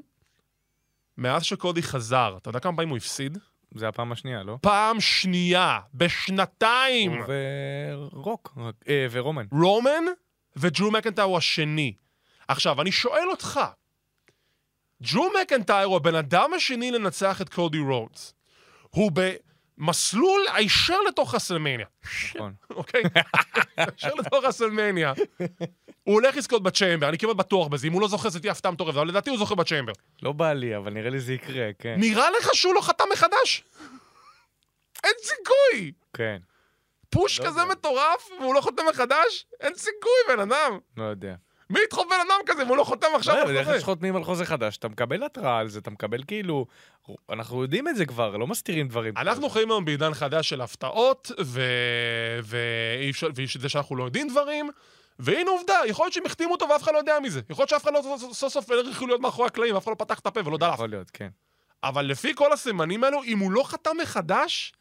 Speaker 4: מאז שקודי חזר, אתה יודע כמה פעמים הוא הפסיד?
Speaker 5: זה הפעם השנייה, לא?
Speaker 4: פעם שנייה, בשנתיים.
Speaker 5: הוא ורוק, רק- אה, ורומן.
Speaker 4: רומן וג'רו מקנטייר הוא השני. עכשיו, אני שואל אותך, ג'ו מקנטייר הוא הבן אדם השני לנצח את קודי רודס. הוא במסלול הישר לתוך הסלמניה,
Speaker 5: נכון.
Speaker 4: אוקיי? הישר לתוך הסלמניה. הוא הולך לזכות בצ'יימבר, אני כמעט בטוח בזה. אם הוא לא זוכר, זו תהיה הפתעה מטורפת, אבל לדעתי הוא זוכר בצ'יימבר.
Speaker 5: לא בא לי, אבל נראה לי זה יקרה, כן.
Speaker 4: נראה לך שהוא לא חתם מחדש? אין סיכוי!
Speaker 5: כן,
Speaker 4: פוש
Speaker 5: לא
Speaker 4: כזה
Speaker 5: יודע.
Speaker 4: מטורף, והוא לא חותם מחדש? אין סיכוי, בן אדם.
Speaker 5: לא יודע.
Speaker 4: מי ידחוף בן אדם כזה והוא לא חותם עכשיו?
Speaker 5: לא,
Speaker 4: על
Speaker 5: בדרך
Speaker 4: חוזה?
Speaker 5: כלל שחותמים על חוזה חדש, אתה מקבל התראה על זה, אתה מקבל כאילו... אנחנו יודעים את זה כבר, לא מסתירים דברים.
Speaker 4: אנחנו חיים היום בעידן חדש של הפתעות, ו... ואי אפשר, ואיש זה שאנחנו לא יודעים דברים, והנה עובדה, יכול להיות שהם החתימו אותו ואף אחד לא יודע מזה. יכול להיות שאף אחד לא סוף- סוף סוף אין רכיב להיות מאחורי הקלעים, אף אחד לא פתח את הפה ולא דלף.
Speaker 5: יכול להיות, כן.
Speaker 4: אבל לפי כל הסימנים האלו, אם הוא לא חתם מחדש,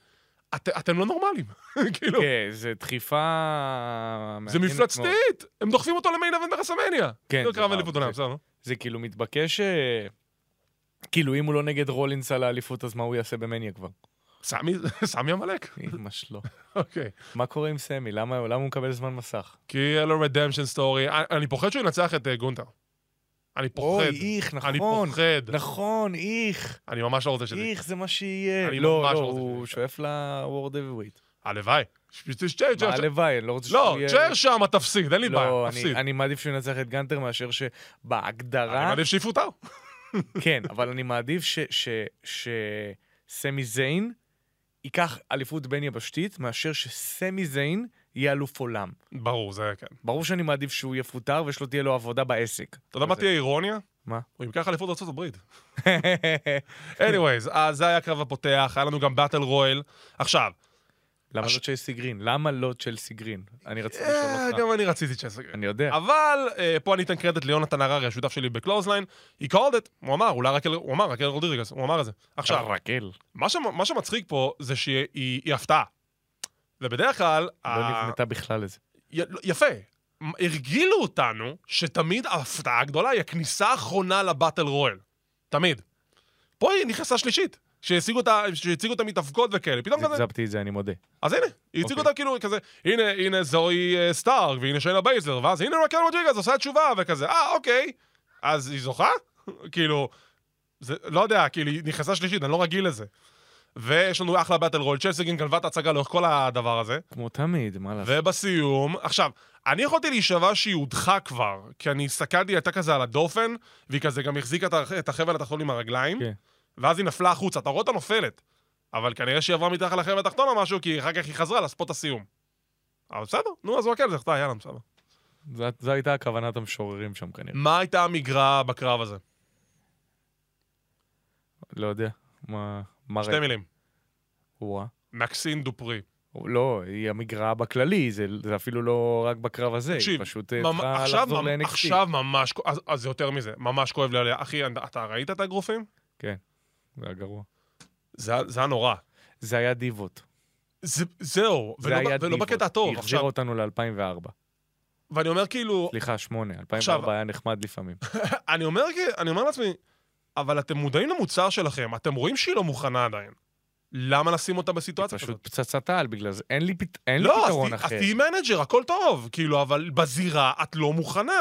Speaker 4: את, אתם לא נורמלים. [LAUGHS] כאילו,
Speaker 5: כן, זו דחיפה...
Speaker 4: זה לא
Speaker 5: מעניינת מאוד.
Speaker 4: מפלצתית, הם דוחפים אותו למיין אבן ברסמניה.
Speaker 5: כן,
Speaker 4: זה
Speaker 5: זה
Speaker 4: קרב
Speaker 5: פעם,
Speaker 4: אליפות עולם,
Speaker 5: זה-
Speaker 4: בסדר, נו.
Speaker 5: זה כאילו מתבקש... אה, כאילו, אם הוא לא נגד רולינס על האליפות, אז מה הוא יעשה במניה כבר? [LAUGHS]
Speaker 4: סמי, [LAUGHS] סמי עמלק,
Speaker 5: ממש לא.
Speaker 4: אוקיי.
Speaker 5: מה קורה עם סמי? למה למה הוא מקבל זמן מסך?
Speaker 4: כי יהיה לו רדמפשן סטורי. אני פוחד שהוא ינצח את אה, גונטר. אני פוחד.
Speaker 5: אוי, איך,
Speaker 4: אני
Speaker 5: נכון.
Speaker 4: פוחד.
Speaker 5: נכון, איך,
Speaker 4: אני ממש לא רוצה שזה...
Speaker 5: איך, זה מה שיהיה.
Speaker 4: אני
Speaker 5: לא,
Speaker 4: ממש לא
Speaker 5: לא,
Speaker 4: רוצה שזה
Speaker 5: הוא
Speaker 4: יקרה.
Speaker 5: שואף ל-World Heavyweight.
Speaker 4: הלוואי. שתשתה,
Speaker 5: מה, הלוואי, אני לא רוצה
Speaker 4: לא,
Speaker 5: שהוא יהיה-
Speaker 4: תשאר שם, תפסיד, אין לי בעיה,
Speaker 5: לא, אני-
Speaker 4: תפסיד.
Speaker 5: אני מעדיף שהוא ינצח את גנטר מאשר
Speaker 4: אני
Speaker 5: שבהגדרה,
Speaker 4: מעדיף שיפוטר.
Speaker 5: כן, אבל אני מעדיף ש- ש- ש- שסמי זיין ייקח אליפות בין יבשתית מאשר שסמי זיין יהיה אלוף עולם.
Speaker 4: ברור, זה כן.
Speaker 5: ברור שאני מעדיף שהוא יפוטר ושלא תהיה לו עבודה בעסק.
Speaker 4: אתה יודע מה תהיה אירוניה?
Speaker 5: מה?
Speaker 4: הוא ייקח אליפות ארצות הברית. anyways, אז זה היה הקרב הפותח, היה לנו גם באטל רויאל. עכשיו,
Speaker 5: למה
Speaker 4: הש-
Speaker 5: לא צ'לסי גרין? למה לא צ'לסי גרין? אני רציתי
Speaker 4: אה,
Speaker 5: לשאול אותך.
Speaker 4: גם אני רציתי צ'סר.
Speaker 5: אני יודע.
Speaker 4: אבל אה, פה אני אתן קרדיט ליונתן הררי, השותף שלי בקלוזליין. He called it, הוא אמר, אולי רק אל... הוא אמר, רק אל רודריגס, הוא אמר את זה. עכשיו,
Speaker 5: רקל.
Speaker 4: מה, ש... מה שמצחיק פה זה שהיא היא- היא הפתעה. ובדרך כלל...
Speaker 5: לא
Speaker 4: ה-
Speaker 5: נבנתה בכלל לזה.
Speaker 4: י... לא, יפה. מ- הרגילו אותנו שתמיד ההפתעה הגדולה היא הכניסה האחרונה לבאטל רויאל. תמיד. פה היא נכנסה שלישית. שהציגו אותה, שהציגו אותה מתאבקות וכאלה, פתאום כזה,
Speaker 5: זיגזגתי את זה, אני מודה.
Speaker 4: אז הנה, היא הציגו
Speaker 5: אוקיי.
Speaker 4: אותה כאילו כזה, הנה, הנה זוהי אה, סטארק, והנה שיינה בייזלר, ואז הנה רקל רודריגז עושה תשובה, וכזה, אה, אוקיי, אז היא זוכה? [LAUGHS] כאילו, זה, לא יודע, כאילו, היא נכנסה שלישית, אני לא רגיל לזה. ויש לנו אחלה באטל רול, צ'לסיגין גנבה את ההצגה לאורך כל הדבר הזה,
Speaker 5: כמו תמיד, מה לעשות?
Speaker 4: ובסיום, עכשיו, אני יכולתי להישבע שהיא הודחה כבר, כי אני הסתכלתי, היא הייתה כזה על הדופן, והיא כזה גם החזיקה את ה- את החבל התחתון עם הרגליים,
Speaker 5: כן.
Speaker 4: ואז היא נפלה החוצה, אתה רואה אותה נופלת, אבל כנראה שהיא עברה מתחת לחבל התחתון או משהו, כי אחר כך היא חזרה לספוט הסיום. אבל בסדר, נו, אז אוקיי, זכתה, יאללה, בסדר.
Speaker 5: כן. זה- זו הייתה הכוונת המשוררים שם כנראה.
Speaker 4: מה הייתה המגרעה בקרב הזה?
Speaker 5: לא יודע. מה... מה
Speaker 4: שתי מילים.
Speaker 5: וואה.
Speaker 4: מקסין דופרי.
Speaker 5: לא, היא המגרעה בכללי, זה, זה אפילו לא רק בקרב הזה, היא
Speaker 4: תקשיב,
Speaker 5: פשוט
Speaker 4: ממ-
Speaker 5: אה, צריכה
Speaker 4: עכשיו
Speaker 5: לחזור
Speaker 4: ממ-
Speaker 5: ל-NXT.
Speaker 4: עכשיו ממש, כ- אז- אז זה יותר מזה, ממש כואב לי עליה. אחי, אתה ראית את האגרופים?
Speaker 5: זה היה גרוע.
Speaker 4: זה היה- זה היה נורא.
Speaker 5: זה היה דיבות.
Speaker 4: זה- זהו,
Speaker 5: זה
Speaker 4: ולא
Speaker 5: היה
Speaker 4: ב- ולא
Speaker 5: דיבות.
Speaker 4: בקטע הטוב.
Speaker 5: היא החזירה
Speaker 4: עכשיו,
Speaker 5: אותנו ל-2004.
Speaker 4: ואני אומר כאילו,
Speaker 5: סליחה, שמונה.
Speaker 4: עכשיו-
Speaker 5: 2004 היה נחמד לפעמים.
Speaker 4: אני אומר, כי- אני אומר לעצמי, אבל אתם מודעים למוצר שלכם, אתם רואים שהיא לא מוכנה עדיין. למה לשים אותה
Speaker 5: היא
Speaker 4: בסיטואציה
Speaker 5: פשוט
Speaker 4: כזאת?
Speaker 5: פצצת על, בגלל זה. אין לי פת- אין לי
Speaker 4: לא, אז
Speaker 5: פתרון
Speaker 4: תהיי- אז
Speaker 5: אחר.
Speaker 4: תהיי מנג'ר, הכל טוב, כאילו, אבל בזירה את לא מוכנה.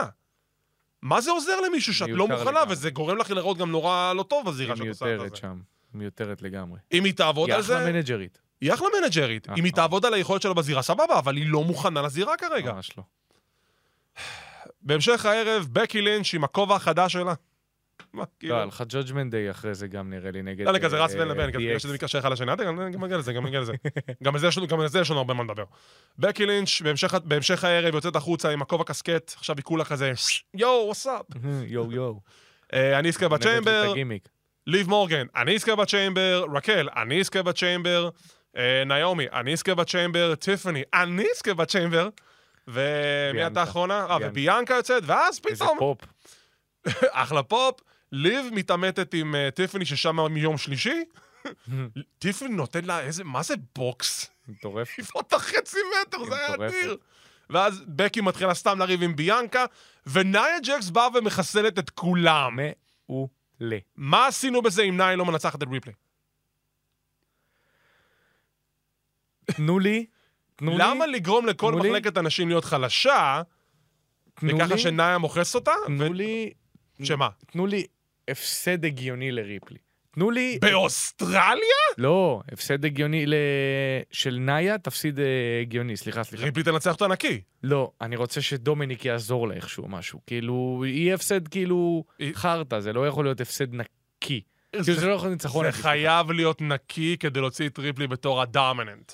Speaker 4: מה זה עוזר למישהו שאת לא
Speaker 5: מיותר
Speaker 4: מוכנה,
Speaker 5: לגמרי.
Speaker 4: וזה גורם לך לראות גם נורא לא טוב בזירה
Speaker 5: היא
Speaker 4: שאת עושה את
Speaker 5: מיותרת
Speaker 4: זה.
Speaker 5: שם. היא מיותרת לגמרי.
Speaker 4: אם היא תעבוד
Speaker 5: היא
Speaker 4: על
Speaker 5: אחלה
Speaker 4: זה,
Speaker 5: מנג'רית.
Speaker 4: היא אחלה מנג'רית.
Speaker 5: אה,
Speaker 4: אם היא
Speaker 5: אה.
Speaker 4: תעבוד על היכולת שלה בזירה, סבבה, אבל היא לא מוכנה לזירה כרגע.
Speaker 5: ממש לא.
Speaker 4: בהמשך הערב, בקי לינץ' עם הכובע החדש שלה. מה, כאילו...
Speaker 5: לא, היה לך ג'ודג'מנט דיי אחרי זה גם נראה לי נגד...
Speaker 4: לא, לא, כזה
Speaker 5: אה,
Speaker 4: רץ בין לבין,
Speaker 5: DX.
Speaker 4: כזה בגלל שזה מתקשר אחד לשני, אל תדאג, גם נגיע לזה, [LAUGHS] גם נגיע לזה. גם על זה יש לנו- גם על זה יש לנו הרבה מה לדבר. בקי לינץ', בהמשך- בהמשך הערב, יוצאת החוצה עם הכובע קסקט, עכשיו היא כולה כזה, יואו, וואסאפ.
Speaker 5: [LAUGHS]
Speaker 4: [LAUGHS]
Speaker 5: יואו יואו.
Speaker 4: אה, אני אזכה
Speaker 5: גונבת לי את
Speaker 4: בצ'יימבר,
Speaker 5: הגימיק.
Speaker 4: ליב מורגן, אני אזכה בצ'יימבר, רקל, אני אזכה בצ'יימבר, אה, נעמי, אני אזכה בצ'יימבר, טיפני, אני אזכה בצ'יימבר, ומי הייתה
Speaker 5: ביאנקה.
Speaker 4: האחרונה? אה,
Speaker 5: ביאנקה.
Speaker 4: וביאנקה יוצאת, ואז
Speaker 5: איזה
Speaker 4: פתאום,
Speaker 5: פופ.
Speaker 4: אחלה פופ, ליב מתעמתת עם אה, טיפני ששמה מיום
Speaker 5: [LAUGHS]
Speaker 4: שלישי, טיפני נותן לה איזה, מה זה בוקס? [LAUGHS]
Speaker 5: מטורף.
Speaker 4: לפחות החצי מטר, זה היה
Speaker 5: מטורפת.
Speaker 4: אדיר. ואז בקי מתחילה סתם לריב עם ביאנקה, ונאיה ג'קס באה ומחסלת את כולם.
Speaker 5: מעולה.
Speaker 4: מה עשינו בזה אם נאיה לא מנצחת את ריפלי?
Speaker 5: תנו לי, תנו לי.
Speaker 4: למה לגרום לכל
Speaker 5: תנו לי.
Speaker 4: מחלקת הנשים להיות חלשה,
Speaker 5: תנו
Speaker 4: וככה
Speaker 5: לי-
Speaker 4: שנאיה מוכס אותה?
Speaker 5: תנו לי,
Speaker 4: שמה?
Speaker 5: תנו לי הפסד הגיוני לריפלי. תנו לי...
Speaker 4: באוסטרליה?
Speaker 5: לא, הפסד הגיוני ל... של נאיה, תפסיד אה, הגיוני, סליחה, סליחה.
Speaker 4: ריפלי תנצח אותה נקי.
Speaker 5: לא, אני רוצה שדומיניק יעזור לה איכשהו, משהו. כאילו, יהיה הפסד כאילו
Speaker 4: היא-
Speaker 5: חרטא, זה לא יכול להיות הפסד נקי. כאילו, זה לא יכול להיות ניצחון
Speaker 4: זה
Speaker 5: נקי.
Speaker 4: נכון, חייב להיות נקי כדי להוציא את ריפלי בתור הדומיננט.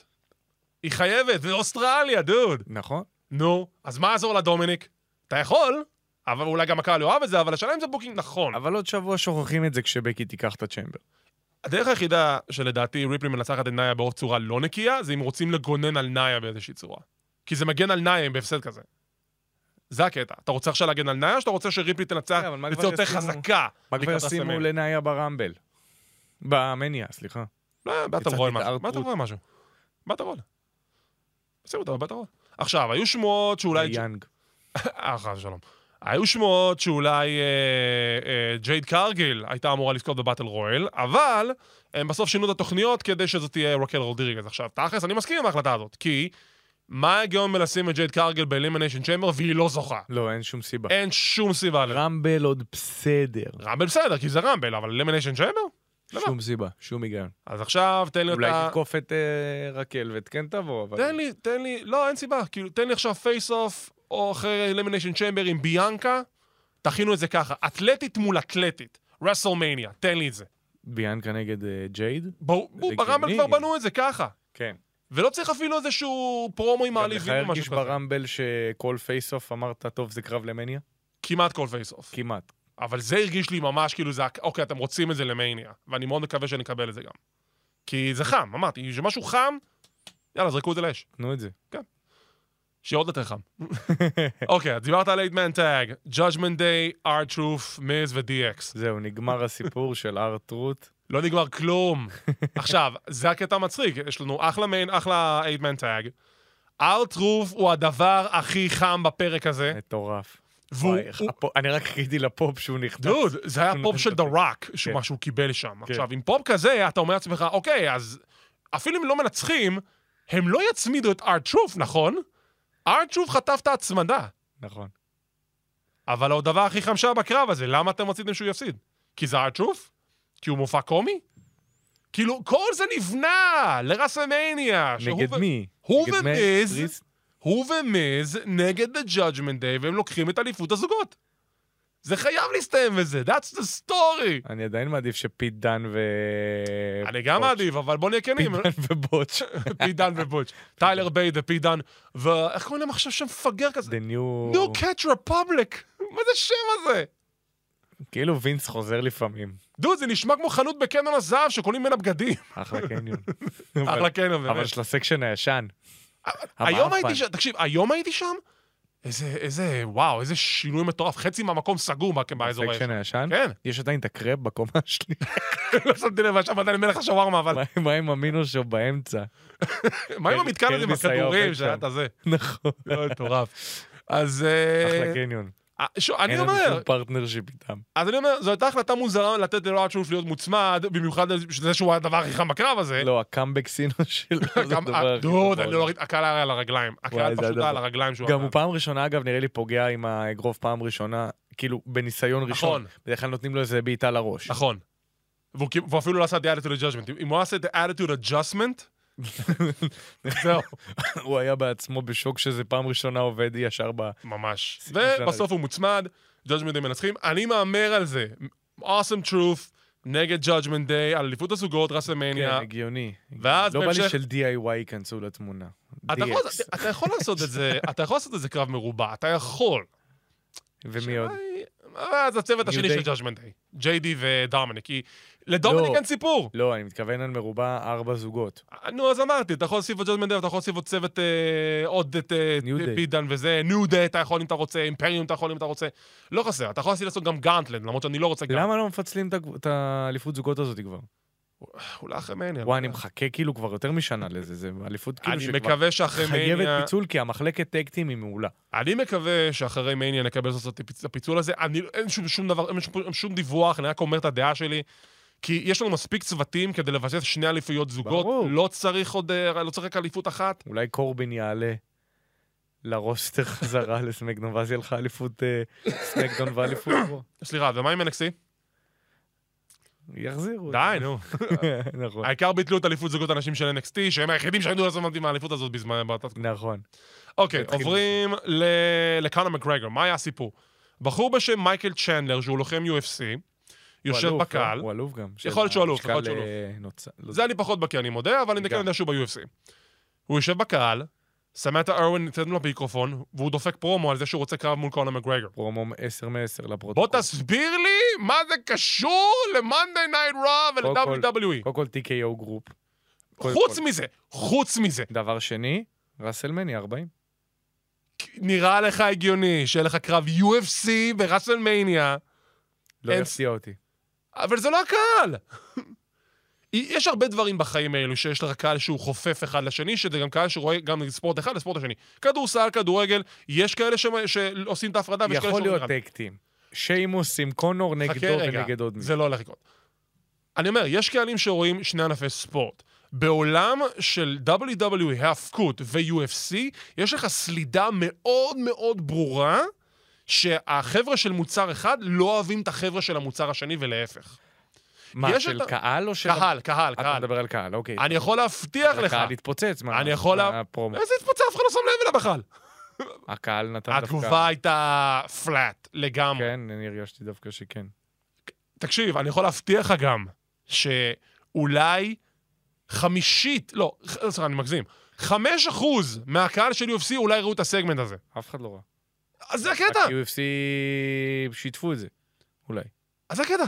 Speaker 4: היא חייבת, זה אוסטרליה, דוד.
Speaker 5: נכון?
Speaker 4: נו, אז מה יעזור לדומיניק? אתה יכול, אבל אולי גם הקהל יאהב את זה, אבל השאלה אם זה בוקינג נכון.
Speaker 5: אבל עוד שבוע שוכחים את זה כשבקי תיקח את הצ'מבר.
Speaker 4: הדרך היחידה שלדעתי ריפלי מנצחת את נאיה באור צורה לא נקייה, זה אם רוצים לגונן על נאיה באיזושהי צורה. כי זה מגן על נאיה עם בהפסד כזה. זה הקטע. אתה רוצה עכשיו להגן על נאיה, או שאתה רוצה שריפלי תנצח,
Speaker 5: כן, אבל מה
Speaker 4: תצא
Speaker 5: כבר
Speaker 4: יותר
Speaker 5: ישימו-
Speaker 4: חזקה?
Speaker 5: מה כבר
Speaker 4: לקראת
Speaker 5: ישימו
Speaker 4: הסמל?
Speaker 5: לנאיה ברמבל? במניה, סליחה.
Speaker 4: לא, באטל
Speaker 5: קצת
Speaker 4: רול משהו.
Speaker 5: התערטרות.
Speaker 4: באטל רול משהו. באטל רול. שימו אותה בבאטל רול. עכשיו, היו שמועות שאולי...
Speaker 5: יאנג.
Speaker 4: אה, חס ושלום. היו שמועות שאולי אה, אה, ג'ייד קרגיל הייתה אמורה לזכות בבאטל רויאל, אבל הם בסוף שינו את התוכניות כדי שזאת תהיה רוקל רודריגז. עכשיו, תכלס, אני מסכים עם ההחלטה הזאת, כי מה ההגיון בלשים את ג'ייד קרגיל באלימיניישן צ'מבר והיא לא זוכה?
Speaker 5: לא, אין שום סיבה.
Speaker 4: אין שום סיבה לזה.
Speaker 5: רמבל עוד בסדר.
Speaker 4: רמבל בסדר, כי זה רמבל, אבל אלימיניישן צ'מבר? למה?
Speaker 5: שום סיבה, שום היגיון.
Speaker 4: אז עכשיו תן לי
Speaker 5: אולי
Speaker 4: אותה...
Speaker 5: תתקוף את אה, רקל וכן תבוא, אבל...
Speaker 4: תן לי, תן לי, לא, אין סיבה. כאילו, תן לי עכשיו פייס אוף, או אחרי אלימיניישן צ'מבר עם ביאנקה, תכינו את זה ככה. אתלטית מול אתלטית. רסלמניה, תן לי את זה.
Speaker 5: ביאנקה נגד אה, ג'ייד?
Speaker 4: ברור,
Speaker 5: זה
Speaker 4: ברמבל
Speaker 5: הגיוני.
Speaker 4: כבר בנו את זה ככה.
Speaker 5: כן.
Speaker 4: ולא צריך אפילו איזשהו פרומואים
Speaker 5: גם לך
Speaker 4: מעליבים או
Speaker 5: הרגיש
Speaker 4: משהו כזה.
Speaker 5: ברמבל שכל פייס-אוף אמרת, טוב, זה קרב למניה?
Speaker 4: כמעט כל פייס אוף.
Speaker 5: כמעט.
Speaker 4: אבל זה הרגיש לי ממש כאילו זה, הק- אוקיי, אתם רוצים את זה למניה. ואני מאוד מקווה שנקבל את זה גם. כי זה חם, אמרתי, שמשהו חם, יאללה, זרקו את זה לאש.
Speaker 5: תנו את זה.
Speaker 4: שיהיה עוד יותר חם.
Speaker 5: [LAUGHS]
Speaker 4: אוקיי, אז דיברת על 8 man tag, judgment day, R-Truth, מיז ו-DX. [LAUGHS]
Speaker 5: זהו, נגמר הסיפור של ארטרוט.
Speaker 4: לא נגמר כלום.
Speaker 5: [LAUGHS]
Speaker 4: עכשיו, זה הקטע המצחיק, יש לנו אחלה מיין, אחלה 8 man tag. R-Truth הוא הדבר הכי חם בפרק הזה,
Speaker 5: מטורף.
Speaker 4: כן. והוא...
Speaker 5: וואי,
Speaker 4: הוא-
Speaker 5: הפו- אני רק חיכיתי לפופ שהוא נכנס.
Speaker 4: [LAUGHS] דוד, זה היה פופ של דה רוק,
Speaker 5: כן.
Speaker 4: מה שהוא קיבל שם. עכשיו, עם פופ כזה, אתה אומר לעצמך, אוקיי, אז אפילו אם לא מנצחים, הם לא יצמידו את R-Truth, נכון? R-Truth חטף את ההצמדה.
Speaker 5: נכון.
Speaker 4: אבל עוד דבר הכי חם שהיה בקרב הזה, למה אתם רציתם שהוא יפסיד? כי זה הרצ'וף? כי הוא מופע קומי? כאילו, כל זה נבנה לרסלמניה. שהוא
Speaker 5: נגד
Speaker 4: ו-
Speaker 5: מי?
Speaker 4: הוא
Speaker 5: נגד מאט
Speaker 4: ומיז.
Speaker 5: פריסט?
Speaker 4: הוא ומיז נגד The Judgment Day, והם לוקחים את אליפות הזוגות. זה חייב להסתיים בזה, that's the story.
Speaker 5: אני עדיין מעדיף שפיט דן ו...
Speaker 4: אני גם
Speaker 5: בוטש.
Speaker 4: מעדיף, אבל בוא נהיה כנים.
Speaker 5: פיט דן
Speaker 4: [LAUGHS]
Speaker 5: ובוטש.
Speaker 4: פידן ובוטש. טיילר בייד ופידן, ואיך קוראים להם עכשיו שם מפגר כזה?
Speaker 5: The new...
Speaker 4: No catch republic. מה זה השם הזה? כן.
Speaker 5: כאילו וינס חוזר לפעמים.
Speaker 4: דוד, זה נשמע כמו חנות בקנון הזהב שקונים ממנה בגדים.
Speaker 5: אחלה קניון.
Speaker 4: [LAUGHS] אחלה קנון,
Speaker 5: אבל
Speaker 4: באמת.
Speaker 5: של הסקשן הישן.
Speaker 4: היום
Speaker 5: המאפן.
Speaker 4: הייתי שם, תקשיב, היום הייתי שם? איזה, איזה, וואו, איזה שינוי מטורף. חצי מהמקום סגור מה- באזור האש.
Speaker 5: הסקשן הישן?
Speaker 4: כן. [LAUGHS]
Speaker 5: יש עדיין את הקרב בקומה השנייה.
Speaker 4: לא שמתי לב, היה שם עדיין מלך השווארמה, אבל
Speaker 5: מה- מה עם המינושו באמצע? [LAUGHS]
Speaker 4: מה עם
Speaker 5: קר-
Speaker 4: המתקן הזה עם
Speaker 5: קרביס היה
Speaker 4: הכדורים
Speaker 5: עובד
Speaker 4: שהיה
Speaker 5: שם.
Speaker 4: את
Speaker 5: [LAUGHS]
Speaker 4: הזה?
Speaker 5: נכון.
Speaker 4: לא, מטורף. אז אה,
Speaker 5: אחלה קניון.
Speaker 4: אה, שוב, אני
Speaker 5: אין לנו
Speaker 4: אומר,
Speaker 5: שום פרטנרשיפ איתם.
Speaker 4: אז אני אומר, זו הייתה החלטה מוזרה לתת ללא שוב להיות מוצמד, במיוחד על זה שהוא היה הדבר הכי חם בקרב הזה.
Speaker 5: לא, הקאמבק סינו שלו זה
Speaker 4: [LAUGHS] גם-
Speaker 5: הדבר הכי טוב.
Speaker 4: אה. דוד, אני לא
Speaker 5: בעולם.
Speaker 4: ראיתי, הקהל היה על הרגליים. הקהל
Speaker 5: וואי, זה
Speaker 4: פשוט
Speaker 5: הדבר.
Speaker 4: היה על הרגליים שהוא...
Speaker 5: גם
Speaker 4: עלה.
Speaker 5: הוא פעם ראשונה, אגב, נראה לי פוגע עם האגרוף פעם ראשונה, כאילו, בניסיון ראשון.
Speaker 4: נכון.
Speaker 5: בדרך כלל נותנים לו איזה בעיטה לראש.
Speaker 4: נכון. והוא כאילו- והוא אפילו לא עשה את ה-attitude adjustment. אם הוא היה עושה את ה-attitude adjustment, זהו,
Speaker 5: [LAUGHS] הוא היה בעצמו בשוק שזה פעם ראשונה עובד ישר ב...
Speaker 4: ממש.
Speaker 5: סיפור של
Speaker 4: ובסוף הוא מוצמד, judgment day מנצחים. אני מהמר על זה. awesome truth נגד judgment day, על אליפות הזוגות,
Speaker 5: כן,
Speaker 4: רסלמניה.
Speaker 5: הגיוני.
Speaker 4: ואז
Speaker 5: לא בא לי
Speaker 4: בהמשך-
Speaker 5: של DIY ייכנסו לתמונה.
Speaker 4: אתה יכול-
Speaker 5: DX.
Speaker 4: אתה יכול לעשות את זה, אתה יכול לעשות את זה קרב מרובע, אתה יכול.
Speaker 5: ומי עוד?
Speaker 4: אז הצוות
Speaker 5: New
Speaker 4: השני
Speaker 5: Day.
Speaker 4: של judgment day, JD ודרמניק, כי לדומניק
Speaker 5: לא.
Speaker 4: אין סיפור.
Speaker 5: לא, אני מתכוון על מרובע ארבע זוגות.
Speaker 4: נו, אז אמרתי, אתה יכול להוסיף את ג'ודמן דב, אתה יכול להוסיף עוד צוות, אה, עוד את אה,
Speaker 5: New Day.
Speaker 4: בידן וזה, ניו דיי אתה יכול אם אתה רוצה, אימפריום אתה יכול אם אתה רוצה, לא חסר, אתה יכול להוסיף לעשות גם גאנטלנד, למרות שאני לא רוצה גם.
Speaker 5: למה לא מפצלים את הגב- את האליפות זוגות הזאת כבר?
Speaker 4: אולי אחרי מניה.
Speaker 5: וואי, אני מחכה כאילו כבר יותר משנה לזה, זה אליפות כאילו
Speaker 4: אני
Speaker 5: שכבר
Speaker 4: מקווה שאחרי
Speaker 5: חייבת
Speaker 4: מניה,
Speaker 5: פיצול, כי המחלקת טקטים היא מעולה.
Speaker 4: אני מקווה שאחרי מניה נקבל סוף סוף את הפיצ- הפיצול הזה, אני, אין שום, שום דבר, אין שום, שום דיווח, אני רק אומר את הדעה שלי. כי יש לנו מספיק צוותים כדי לבסס שני אליפויות זוגות,
Speaker 5: ברור.
Speaker 4: לא צריך עוד, אה, לא צריך רק אליפות אחת.
Speaker 5: אולי קורבין יעלה. לרוסטר [LAUGHS] חזרה לסמקדון, ואז יהיה לך אליפות אה, סמקדון ואליפות רו.
Speaker 4: סליחה, ומה עם NXT?
Speaker 5: יחזירו. את
Speaker 4: די,
Speaker 5: זה.
Speaker 4: נו.
Speaker 5: [LAUGHS] נכון.
Speaker 4: העיקר ביטלו את אליפות זוגות הנשים של NXT, שהם היחידים שהיו לעשות עם האליפות הזאת בזמן... באותה-
Speaker 5: נכון.
Speaker 4: אוקיי,
Speaker 5: התחיל
Speaker 4: עוברים לקאנר מקרגר, מה היה הסיפור? בחור בשם מייקל צ'נדלר, שהוא לוחם UFC, יושב
Speaker 5: הוא אלוף,
Speaker 4: בקהל,
Speaker 5: לא? הוא אלוף גם.
Speaker 4: יכול להיות שהוא אלוף, יכול להיות
Speaker 5: של
Speaker 4: שהוא
Speaker 5: המשקל, אה, נוצ- לא
Speaker 4: זה אני פחות בקיא, אני מודה, אבל אני
Speaker 5: גם.
Speaker 4: כן יודע שהוא ב-UFC. הוא יושב בקהל, סמטה ארווין נותנת לו מיקרופון, והוא דופק פרומו על זה שהוא רוצה קרב מול קאנר מקרגר.
Speaker 5: פרומו 10 מ-10 לפרוטוקול.
Speaker 4: בוא תסביר לי מה זה קשור ל-Monday Night Raw
Speaker 5: קודם כל-
Speaker 4: ול-WWE.
Speaker 5: קודם כל TKO גרופ. קודם
Speaker 4: E. חוץ
Speaker 5: כל.
Speaker 4: מזה, חוץ מזה,
Speaker 5: דבר שני, ראסלמני 40.
Speaker 4: נראה לך הגיוני שיהיה לך קרב UFC בראסלמניה,
Speaker 5: לא
Speaker 4: אין- אה,
Speaker 5: יפתיע אותי.
Speaker 4: אבל זה לא הקהל. [LAUGHS] יש הרבה דברים בחיים האלו שיש לך קהל שהוא חופף אחד לשני, שזה גם קהל שרואה גם ספורט אחד לספורט השני. כדורסל, כדורגל, יש כאלה שמ- שעושים את ההפרדה ויש כאלה
Speaker 5: יכול
Speaker 4: שעושים
Speaker 5: להיות
Speaker 4: אחד.
Speaker 5: טקטים. שיימוס עם קונור נגדו
Speaker 4: חכה רגע,
Speaker 5: ונגד עוד מישהו.
Speaker 4: זה לא הולך לקרות. אני אומר, יש קהלים שרואים שני ענפי ספורט. בעולם של WWE, ההפקות ו-UFC, יש לך סלידה מאוד מאוד ברורה שהחבר'ה של מוצר אחד לא אוהבים את החבר'ה של המוצר השני ולהפך.
Speaker 5: מה,
Speaker 4: יש
Speaker 5: של
Speaker 4: את ה-
Speaker 5: קהל או של...
Speaker 4: קהל, קהל,
Speaker 5: אתה
Speaker 4: קהל.
Speaker 5: מדבר על קהל, אוקיי.
Speaker 4: אני יכול להבטיח לך.
Speaker 5: הקהל התפוצץ. מה-
Speaker 4: אני יכול לה-
Speaker 5: מהפרומו.
Speaker 4: איזה התפוצה, אף אחד לא שם לב אליה בכלל.
Speaker 5: הקהל נתן דווקא...
Speaker 4: התגובה הייתה פלאט לגמרי.
Speaker 5: כן, אני הרגשתי דווקא שכן.
Speaker 4: תקשיב, אני יכול להבטיח לך גם שאולי חמישית, לא, ח- סליחה, אני מגזים, חמש אחוז מהקהל של UFC אולי ראו את הסגמנט הזה.
Speaker 5: אף אחד לא ראה.
Speaker 4: אז זה הקטע,
Speaker 5: רק UFC שיתפו את זה. אולי.
Speaker 4: אז זה הקטע.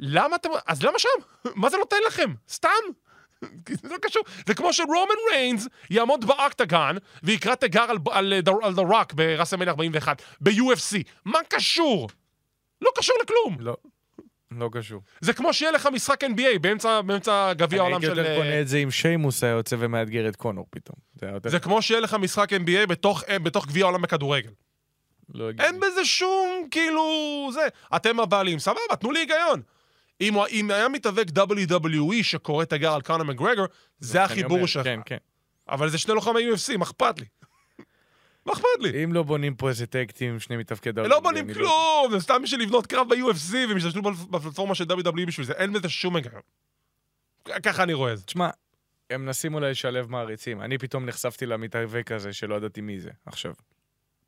Speaker 4: למה אתם, אז למה שם? מה זה נותן לכם? סתם? [LAUGHS] זה לא קשור. זה כמו שרומן ריינס יעמוד באקטגן ויקרא תיגר על, על, על, על The Rock בראסלמניה 41, ב-UFC. מה קשור? לא קשור לכלום.
Speaker 5: לא. לא קשור.
Speaker 4: זה כמו שיהיה לך משחק NBA באמצע, באמצע גביע
Speaker 5: אני
Speaker 4: העולם
Speaker 5: הייתי
Speaker 4: של...
Speaker 5: יותר
Speaker 4: אה,
Speaker 5: קונה את זה אם שיימוס היה יוצא ומאתגר את קונור פתאום. זה היה יותר...
Speaker 4: זה כמו שיהיה לך משחק NBA בתוך, אה, בתוך גביע העולם בכדורגל.
Speaker 5: לא הגיוני.
Speaker 4: אין בזה שום, כאילו, זה. אתם הבעלים, סבבה, תנו לי היגיון. אם, הוא- אם היה מתאבק WWE שקורא תיגר על קאנר מגרגר, זה
Speaker 5: אני אומר,
Speaker 4: החיבור שלך.
Speaker 5: כן, כן.
Speaker 4: אבל זה שני לוחמי UFC, מה
Speaker 5: [LAUGHS]
Speaker 4: אכפת לי? מה אכפת לי?
Speaker 5: אם לא בונים פה איזה טק טים, שני מתפקד
Speaker 4: הם
Speaker 5: העולם,
Speaker 4: לא
Speaker 5: אני
Speaker 4: בונים כלום, זה סתם בשביל לבנות קרב ב-UFC, והם השתמשו בפל- בפלטפורמה של WWE בשביל זה, אין בזה שום היגיון. ככה אני רואה את זה.
Speaker 5: תשמע, הם מנסים אולי לשלב מעריצים. אני פתאום נחשפתי למתאבק הזה שלא ידעתי מי זה עכשיו.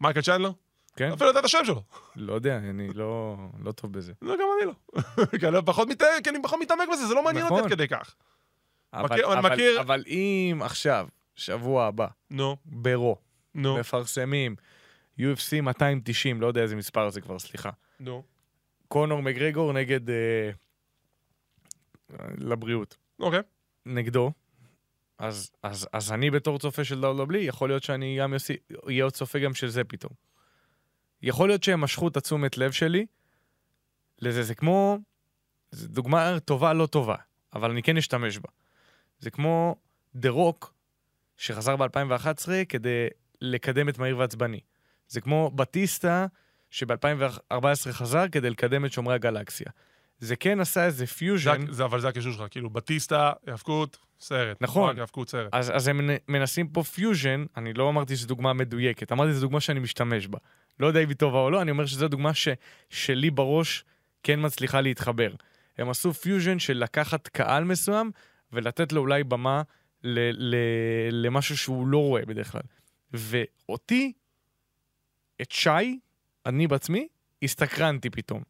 Speaker 4: מייקל צ'נדלר?
Speaker 5: כן?
Speaker 4: אפילו לא יודע את השם שלו.
Speaker 5: לא יודע, אני לא לא טוב בזה.
Speaker 4: לא, גם אני לא. [LAUGHS] כי אני פחות מתעמק- כי אני פחות מתעמק בזה, זה לא מעניין אותי
Speaker 5: נכון.
Speaker 4: עד כדי כך.
Speaker 5: אבל-
Speaker 4: מכיר- אני
Speaker 5: אבל-
Speaker 4: מכיר-
Speaker 5: אבל אם עכשיו, שבוע הבא,
Speaker 4: נו,
Speaker 5: ברו,
Speaker 4: נו,
Speaker 5: מפרסמים UFC 290, לא יודע איזה מספר זה כבר, סליחה.
Speaker 4: נו.
Speaker 5: קונור מגרגור נגד... אה, לבריאות.
Speaker 4: אוקיי.
Speaker 5: נגדו, אז, אז, אז אני בתור צופה של דאודו בלי, יכול להיות שאני גם יוסי- אהיה עוד צופה גם של זה פתאום. יכול להיות שהם משכו את התשומת לב שלי לזה, זה כמו, זו דוגמה טובה לא טובה, אבל אני כן אשתמש בה. זה כמו דה רוק, שחזר ב-2011 כדי לקדם את מהיר ועצבני. זה כמו בטיסטה, שב-2014 חזר כדי לקדם את שומרי הגלקסיה. זה כן עשה איזה
Speaker 4: זה-
Speaker 5: פיוז'ן.
Speaker 4: זה- אבל זה הקישור שלך, כאילו, בטיסטה, האבקות, סרט.
Speaker 5: נכון.
Speaker 4: רק האבקות, סרט.
Speaker 5: אז, אז הם מנ- מנסים פה פיוז'ן, אני לא אמרתי שזו דוגמה מדויקת, אמרתי שזו דוגמה שאני משתמש בה. לא יודע אם היא טובה או לא, אני אומר שזו דוגמה ש, שלי בראש כן מצליחה להתחבר. הם עשו פיוז'ן של לקחת קהל מסוים ולתת לו אולי במה ל, ל, למשהו שהוא לא רואה בדרך כלל. ואותי, את שי, אני בעצמי, הסתקרנתי פתאום.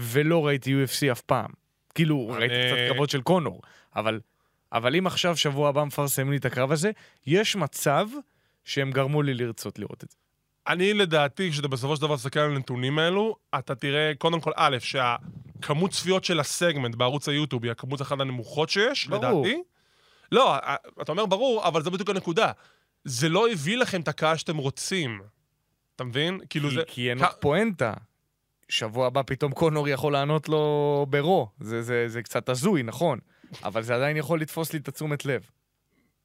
Speaker 5: ולא ראיתי UFC אף פעם. כאילו, ראיתי
Speaker 4: אני-
Speaker 5: קצת קרבות של קונור, אבל, אבל אם עכשיו, שבוע הבא מפרסמים לי את הקרב הזה, יש מצב שהם גרמו לי לרצות לראות את זה.
Speaker 4: אני, לדעתי, כשאתה בסופו של דבר תסתכל על הנתונים האלו, אתה תראה, קודם כל, א', שהכמות צפיות של הסגמנט בערוץ היוטיוב היא הכמות אחת הנמוכות שיש,
Speaker 5: ברור.
Speaker 4: לדעתי. לא, א- אתה אומר ברור, אבל זו בדיוק הנקודה. זה לא הביא לכם את הקהל שאתם רוצים. אתה מבין? כאילו
Speaker 5: כי,
Speaker 4: זה...
Speaker 5: כי אין
Speaker 4: כ-
Speaker 5: לך פואנטה. שבוע הבא פתאום קונור יכול לענות לו ברו. זה, זה, זה קצת הזוי, נכון. אבל זה עדיין יכול לתפוס לי את התשומת לב.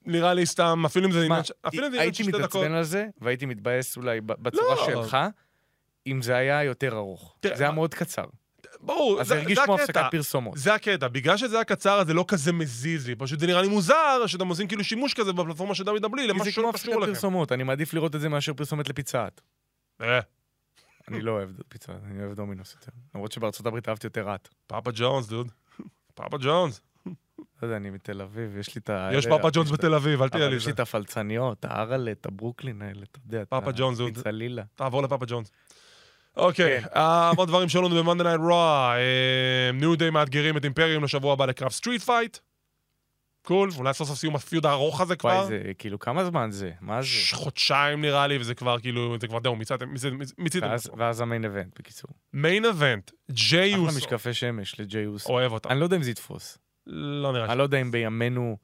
Speaker 4: נראה לי סתם, אפילו אם זה
Speaker 5: מה,
Speaker 4: עניין ש- אפילו אם זה עניין
Speaker 5: הייתי
Speaker 4: של שתי דקות.
Speaker 5: מתעצבן על זה, והייתי מתבאס אולי ב- בצורה
Speaker 4: לא.
Speaker 5: שלך, אם זה היה יותר ארוך.
Speaker 4: תראה,
Speaker 5: זה היה
Speaker 4: מה-
Speaker 5: מאוד קצר.
Speaker 4: ברור,
Speaker 5: אז
Speaker 4: זה,
Speaker 5: הרגיש
Speaker 4: זה
Speaker 5: כמו
Speaker 4: הקטע.
Speaker 5: הפסקת פרסומות.
Speaker 4: זה הקטע, בגלל שזה היה קצר, אז זה לא כזה מזיז לי. פשוט זה נראה לי מוזר שאתם עושים כאילו שימוש כזה בפלטפורמה של דוד אבלי,
Speaker 5: כי
Speaker 4: למשהו
Speaker 5: זה כמו
Speaker 4: שלא
Speaker 5: הפסקת
Speaker 4: קשור לכם.
Speaker 5: פרסומות, אני מעדיף לראות את זה מאשר פרסומת לפיצת.
Speaker 4: אה,
Speaker 5: אני לא אוהב פיצה, אני אוהב דומינוס יותר. למרות שבארצות הברית אהבתי יותר את.
Speaker 4: פאפה ג'ונס, דוד. [LAUGHS] פאפה ג'ונס.
Speaker 5: לא יודע, אני מתל אביב, יש לי את ה...
Speaker 4: יש
Speaker 5: אלה-
Speaker 4: פאפה ג'ונס
Speaker 5: אה, יש את ה-
Speaker 4: בתל אביב, אל תהיה
Speaker 5: אבל
Speaker 4: לי
Speaker 5: יש לי
Speaker 4: זה.
Speaker 5: את הפלצניות, ההרלה, את הברוקלין האלה, אתה יודע. את
Speaker 4: פאפה
Speaker 5: ה-
Speaker 4: ג'ונס, הוא-
Speaker 5: מצלילה.
Speaker 4: תעבור לפאפה ג'ונס. אוקיי,
Speaker 5: כן.
Speaker 4: אה, עוד דברים שלנו במאנדי נייט רוע. אה, ניו דיי מאתגרים את אימפריום לשבוע הבא לקרב סטריט פייט. קול, אולי סוף סוף סיום הפיוד הארוך הזה כבר.
Speaker 5: וואי, זה כאילו, כמה זמן זה? מה זה?
Speaker 4: ש- חודשיים נראה לי, וזה כבר כאילו, זה כבר זהו, מיציתם, מיציתם, מיציתם.
Speaker 5: ואז- ואז המיין אבנט, בקיצור.
Speaker 4: מיין אבנט, ג'יי
Speaker 5: אחלה
Speaker 4: יוסו,
Speaker 5: משקפי שמש לג'יי אוסו.
Speaker 4: אוהב אותם.
Speaker 5: אני לא יודע אם זה יתפוס.
Speaker 4: לא נראה
Speaker 5: אני
Speaker 4: לי.
Speaker 5: לא יודע אם בימינו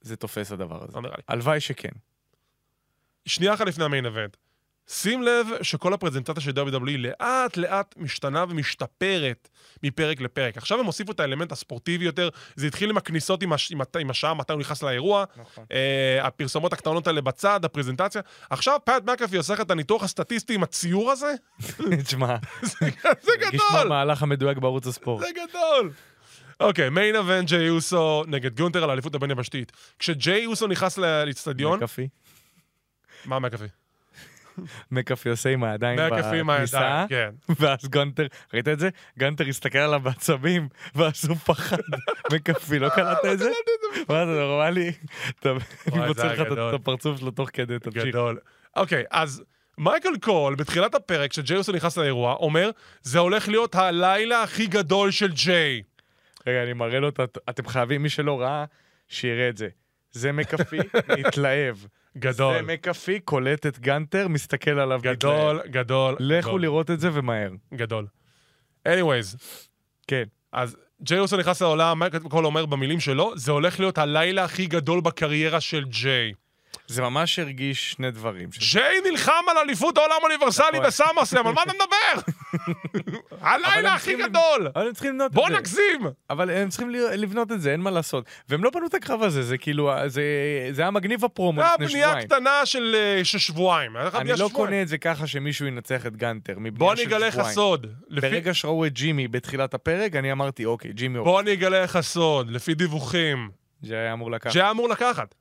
Speaker 5: זה תופס הדבר הזה.
Speaker 4: לא נראה לי.
Speaker 5: הלוואי שכן.
Speaker 4: [LAUGHS] שנייה אחת לפני המיין אבנט. שים לב שכל הפרזנטציה של WWE לאט לאט משתנה ומשתפרת מפרק לפרק. עכשיו הם הוסיפו את האלמנט הספורטיבי יותר, זה התחיל עם הכניסות עם, הש... עם, הת... עם השעה, מתי הוא נכנס לאירוע,
Speaker 5: נכון.
Speaker 4: אה, הפרסומות הקטנות האלה בצד, הפרזנטציה. עכשיו פאט מקאפי עושה לך את הניתוח הסטטיסטי עם הציור הזה? [LAUGHS]
Speaker 5: תשמע,
Speaker 4: זה, זה
Speaker 5: הרגיש כמו
Speaker 4: גדול!
Speaker 5: המהלך המדויק בערוץ הספורט.
Speaker 4: זה גדול. אוקיי, מיין אבנט ג'יי אוסו נגד גונטר על האליפות הבין יבשתית. כשג'יי אוסו נכנס ל- לאצטדיון,
Speaker 5: מקפי.
Speaker 4: מה מהקפי?
Speaker 5: מקפי עושה עם הידיים
Speaker 4: מהקפי עם הידיים,
Speaker 5: בכניסה,
Speaker 4: כן.
Speaker 5: ואז גונטר, ראית את זה? גונטר הסתכל עליו בעצבים, ואז הוא
Speaker 4: [LAUGHS]
Speaker 5: פחד. מקפי, לא קלטת את זה? מה זה נורמלי? אתה
Speaker 4: וואי,
Speaker 5: מוצא
Speaker 4: זה
Speaker 5: לך את
Speaker 4: גדול.
Speaker 5: את הפרצוף שלו תוך כדי, תמשיך.
Speaker 4: גדול. אוקיי, אז מייקל קול, בתחילת הפרק, כשג'יי אוסו נכנס לאירוע, אומר, זה הולך להיות הלילה הכי גדול של ג'יי.
Speaker 5: רגע, אני מראה לו, את ה- אתם חייבים, מי שלא ראה, שיראה את זה.
Speaker 4: [LAUGHS]
Speaker 5: זה מקפי, מתלהב. זה
Speaker 4: גדול.
Speaker 5: מקפי, קולט את גנטר, מסתכל עליו, מתלהב.
Speaker 4: גדול, גדול.
Speaker 5: לכו
Speaker 4: גדול,
Speaker 5: לראות את זה ומהר.
Speaker 4: גדול. anyways,
Speaker 5: כן.
Speaker 4: אז ג'יי אוסו נכנס לעולם, מייקל קול אומר במילים שלו, זה הולך להיות הלילה הכי גדול בקריירה של ג'יי.
Speaker 5: זה ממש הרגיש שני דברים. שזה-
Speaker 4: ג'יי נלחם על אליפות העולם האוניברסלי
Speaker 5: נכון.
Speaker 4: בסמרסלאם, על מה אתה מדבר?
Speaker 5: [LAUGHS] אבל
Speaker 4: הלילה
Speaker 5: הם
Speaker 4: הכי
Speaker 5: צריכים לב-
Speaker 4: גדול!
Speaker 5: אבל הם צריכים לבנות את זה.
Speaker 4: בוא נגזים!
Speaker 5: אבל הם צריכים ל- לבנות את זה, אין מה לעשות. והם לא בנו את הקרב הזה, זה כאילו, זה, זה היה מגניב הפרומו
Speaker 4: זה היה
Speaker 5: לפני
Speaker 4: בנייה
Speaker 5: שבועיים.
Speaker 4: קטנה של אה, של שבועיים. היה לך
Speaker 5: אני
Speaker 4: בנייה של
Speaker 5: לא
Speaker 4: שבועיים.
Speaker 5: קונה את זה ככה שמישהו ינצח את גנטר, מבנייה
Speaker 4: בוא
Speaker 5: של
Speaker 4: אני אגלה לך
Speaker 5: שבועיים.
Speaker 4: סוד. לפי-
Speaker 5: ברגע שראו את ג'ימי בתחילת הפרק, אני אמרתי, אוקיי, ג'ימי אופ.
Speaker 4: בוא אני אגלה לך סוד, לפי דיווחים,
Speaker 5: זה היה אמור לקחת.
Speaker 4: שהיה אמור לקחת.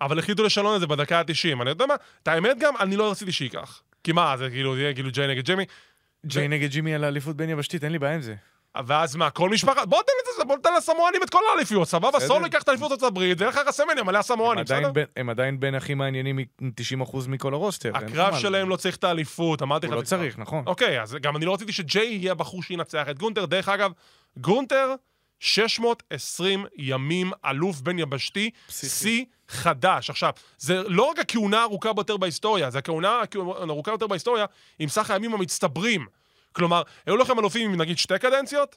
Speaker 4: אבל החליטו לשלון את זה בדקה ה-90. אני יודע מה, את האמת גם, אני לא רציתי שייקח. כי מה, זה כאילו, זה יהיה כאילו ג'יי נגד ג'ימי.
Speaker 5: ג'יי נגד ג'ימי על האליפות בין יבשתית, אין לי בעיה עם זה.
Speaker 4: ואז מה, כל משפחה, בוא תן את זה, בוא תן לסמואנים את כל האליפיות, סבבה?
Speaker 5: בסדר.
Speaker 4: סול ייקח את האליפות ארצות הברית, ויהיה לך רק הסמל מלא
Speaker 5: הם
Speaker 4: הסמואנים,
Speaker 5: עדיין
Speaker 4: בסדר?
Speaker 5: בין- הם עדיין בין הכי מעניינים מ-90% מכל הרוסטר. אין
Speaker 4: הקרב
Speaker 5: מה-
Speaker 4: שלהם לא צריך את האליפות, אמרתי לך.
Speaker 5: הוא לא
Speaker 4: את זה כבר.
Speaker 5: צריך, נכון.
Speaker 4: אוקיי, אז גם אני לא רציתי שג'יי יהיה הבחור שינצח את גונטר. דרך אגב, גונטר, 620 ימים אלוף בין יבשתי, שיא חדש. עכשיו, זה לא רק הכהונה הארוכה ביותר בהיסטוריה, זה הכהונה הארוכה יותר בהיסטוריה עם סך הימים המצטברים. כלומר, היו לכם אלופים עם נגיד שתי קדנציות,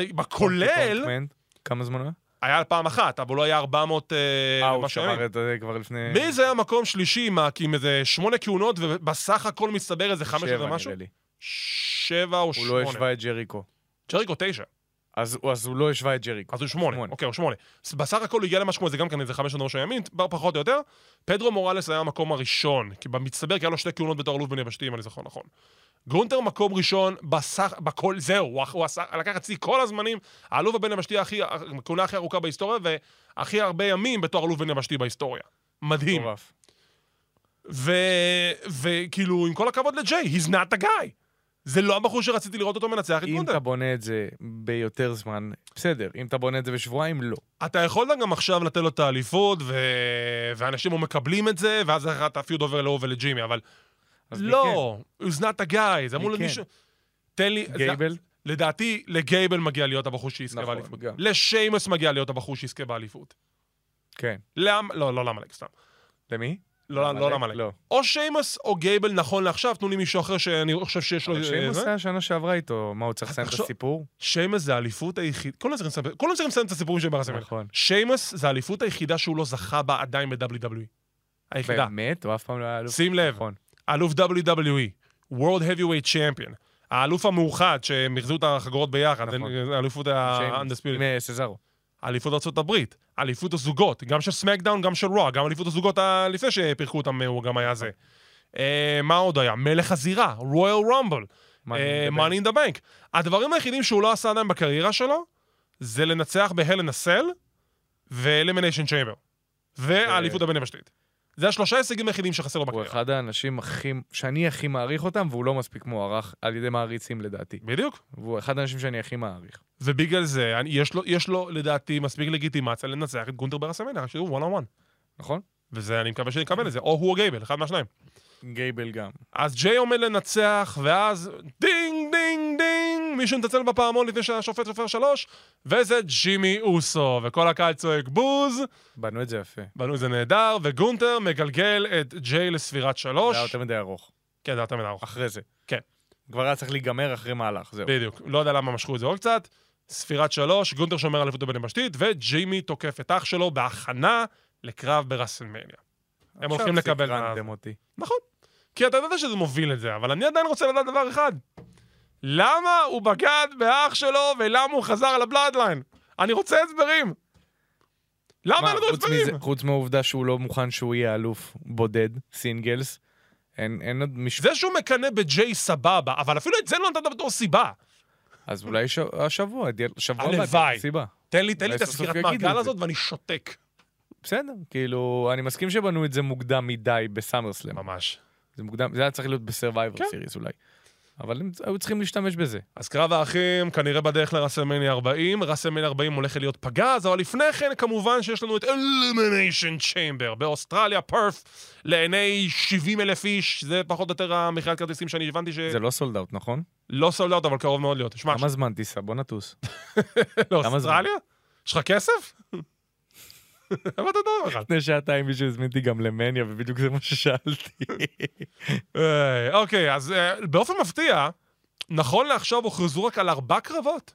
Speaker 4: שבכולל
Speaker 5: קונטמן, כמה זמן הוא היה?
Speaker 4: היה פעם אחת, אבל לא היה 400...
Speaker 5: אה, הוא שבר את זה כבר לפני...
Speaker 4: מי זה היה מקום שלישי עם ה- עם איזה שמונה כהונות, ובסך הכל מצטבר איזה חמש
Speaker 5: שבע,
Speaker 4: ומשהו?
Speaker 5: נראה לי.
Speaker 4: שבע או
Speaker 5: הוא
Speaker 4: שמונה.
Speaker 5: לא השווה את ג'ריקו.
Speaker 4: ג'ריקו תשע,
Speaker 5: אז אז הוא לא השווה את ג'ריקו.
Speaker 4: אז הוא שמונה.
Speaker 5: שמונה.
Speaker 4: אוקיי, הוא שמונה. אז בסך הכל הוא הגיע למשהו כמו איזה גם כן איזה חמש עד ראש הימין, בר- פחות או יותר. פדרו מוראלס היה המקום הראשון, כי במצטבר כי היה לו שתי כהונות בתור אלוף בין יבשתי, אם אני זוכר נכון. גרונטר מקום ראשון בסך, בכל, זהו, הוא, הוא עשה, לקח את שיא כל הזמנים, האלוף הבין יבשתי, הכי- הכהונה הכי ארוכה בהיסטוריה, והכי הרבה ימים בתור אלוף בין יבשתי בהיסטוריה. מדהים.
Speaker 5: מטורף.
Speaker 4: ו- וכאילו, עם כל הכבוד לג'יי, he's not the guy. זה לא הבחור שרציתי לראות אותו מנצח את
Speaker 5: אם
Speaker 4: גונדר.
Speaker 5: אתה בונה את זה ביותר זמן, בסדר. אם אתה בונה את זה בשבועיים, לא.
Speaker 4: אתה יכולת גם עכשיו לתת לו את האליפות, ו... ואנשים לא מקבלים את זה, ואז אחר כך אתה פיוד עובר לאו ולג'ימי, אבל
Speaker 5: אז מי כן?
Speaker 4: לא, he's not the guy, זה אמור
Speaker 5: מי
Speaker 4: להיות
Speaker 5: כן?
Speaker 4: מישהו... תן לי...
Speaker 5: כן? גייבל?
Speaker 4: זה... לדעתי, לגייבל מגיע להיות הבחור שיזכה
Speaker 5: נכון,
Speaker 4: באליפות.
Speaker 5: גם.
Speaker 4: לשיימס מגיע להיות הבחור שיזכה באליפות.
Speaker 5: כן.
Speaker 4: למה? לא, לא למה לק, סתם.
Speaker 5: למי?
Speaker 4: לא, לא למה לק.
Speaker 5: לא.
Speaker 4: או שיימס או גייבל נכון לעכשיו, תנו לי מישהו אחר שאני חושב שיש לו... אה,
Speaker 5: אבל שאם
Speaker 4: זה.
Speaker 5: עושה השנה שעברה איתו, מה, הוא צריך לסיים את
Speaker 4: תחשוב-
Speaker 5: הסיפור?
Speaker 4: שיימס זה האליפות היחיד... כולם צריכים לסיים- כולם צריכים לסיים את הסיפורים של ברסמל.
Speaker 5: נכון.
Speaker 4: שיימס זה האליפות היחידה שהוא לא זכה בה עדיין ב-WWE. היחידה.
Speaker 5: באמת? הוא אף פעם לא היה אלוף.
Speaker 4: שים לב,
Speaker 5: נכון.
Speaker 4: אלוף WWE, E, World Heavyweight Champion, האלוף המאוחד שהם החזירו את החגורות ביחד,
Speaker 5: נכון.
Speaker 4: זה האליפות
Speaker 5: שיימס.
Speaker 4: ה-Undisputed,
Speaker 5: עם, אה, סזארו.
Speaker 4: אליפות ארה"ב, אליפות הזוגות, גם של סמקדאון, גם של רוע, גם אליפות הזוגות ה- לפני אה, שפירקו אותם, הוא גם היה זה. אה, מה עוד היה? מלך הזירה, Royal Rumble.
Speaker 5: Money in
Speaker 4: אה,
Speaker 5: the
Speaker 4: Money in the Bank. הדברים היחידים שהוא לא עשה עדיין בקריירה שלו, זה לנצח בהלן הסל ואלימיניישן צ'יימר. והאליפות הבין יבשתית. זה השלושה הישגים היחידים שחסר לו
Speaker 5: הוא
Speaker 4: בקריירה.
Speaker 5: אחד האנשים הכי, שאני הכי מעריך אותם, והוא לא מספיק מוערך על ידי מעריצים לדעתי.
Speaker 4: בדיוק.
Speaker 5: והוא אחד האנשים שאני הכי מעריך.
Speaker 4: ובגלל זה, אני- יש לו, יש לו לדעתי מספיק לגיטימציה לנצח את גונטר ברסמניה, שהוא וואן און וואן.
Speaker 5: נכון?
Speaker 4: וזה, אני מקווה שנקבל את זה. או הוא או גייבל, אחד מהשניים.
Speaker 5: גייבל גם.
Speaker 4: אז ג'יי עומד לנצח, ואז דינג, דינג, דינג, מישהו מצלצל בפעמון לפני שהשופט סופר שלוש, וזה ג'ימי אוסו, וכל הקהל צועק בוז,
Speaker 5: בנו את זה יפה.
Speaker 4: בנו זה נהדר, וגונטר מגלגל את ג'יי לספירת
Speaker 5: זה
Speaker 4: שלוש.
Speaker 5: היה יותר מדי ארוך.
Speaker 4: כן, זה היה יותר מדי ארוך.
Speaker 5: אחרי זה.
Speaker 4: כן.
Speaker 5: כבר היה צריך להיגמר אחרי מהלך, זהו.
Speaker 4: בדיוק, לא יודע למה משכו את זה עוד קצת. ספירת שלוש, גונטר שומר על אליפות הבנבשתית, וג'ימי תוקף את אח שלו בהכנה לקרב ברסלמניה. הם הולכים
Speaker 5: עכשיו
Speaker 4: לקבל...
Speaker 5: סקרנתם אותי.
Speaker 4: נכון. כי אתה יודע שזה מוביל את זה, אבל אני עדיין רוצה לדעת דבר אחד. למה הוא בגד באח שלו ולמה הוא חזר לבלאדליין? אני רוצה הסברים. למה
Speaker 5: מה,
Speaker 4: אין לנו
Speaker 5: חוץ מזה-
Speaker 4: הסברים?
Speaker 5: חוץ מהעובדה שהוא לא מוכן שהוא יהיה אלוף בודד, סינגלס, אין אין עוד משפט.
Speaker 4: זה שהוא מקנא בג'יי סבבה, אבל אפילו את זה לא נתת בתור סיבה.
Speaker 5: אז אולי ש- השבוע, די- שבוע הבא,
Speaker 4: הלוואי.
Speaker 5: תהיה סיבה.
Speaker 4: תן לי, תן לי
Speaker 5: אולי
Speaker 4: את
Speaker 5: סוף סוף
Speaker 4: הסגירת
Speaker 5: יגידו את
Speaker 4: מעגל
Speaker 5: זה.
Speaker 4: הזאת ואני שותק.
Speaker 5: בסדר, כאילו, אני מסכים שבנו את זה מוקדם מדי בסאמרסלאם.
Speaker 4: ממש.
Speaker 5: זה מוקדם, זה היה צריך להיות בסרווייבר
Speaker 4: כן.
Speaker 5: סיריס אולי. אבל הם היו צריכים להשתמש בזה.
Speaker 4: אז קרב האחים כנראה בדרך לרסלמניה 40, רסלמניה 40 הולכת להיות פגז, אבל לפני כן כמובן שיש לנו את אלימיניישן צ'יימבר באוסטרליה, פרף, לעיני 70 אלף איש, זה פחות או יותר המכירת כרטיסים שאני הבנתי
Speaker 5: זה לא סולד אאוט, נכון?
Speaker 4: שלא סולד אאוט, אבל קרוב מאוד להיות. שמע,
Speaker 5: כמה זמן טיסה? בוא נטוס. [LAUGHS]
Speaker 4: לא,
Speaker 5: כמה זמן?
Speaker 4: אוסטרליה? יש לך כסף? [LAUGHS] אבל אתה יודע בכלל.
Speaker 5: לפני שעתיים מישהו הזמין אותי גם למניה, ובדיוק זה מה
Speaker 4: [LAUGHS]
Speaker 5: ששאלתי.
Speaker 4: אה, אוקיי, אז אה, באופן מפתיע, נכון לעכשיו הוכרזו רק על ארבע קרבות.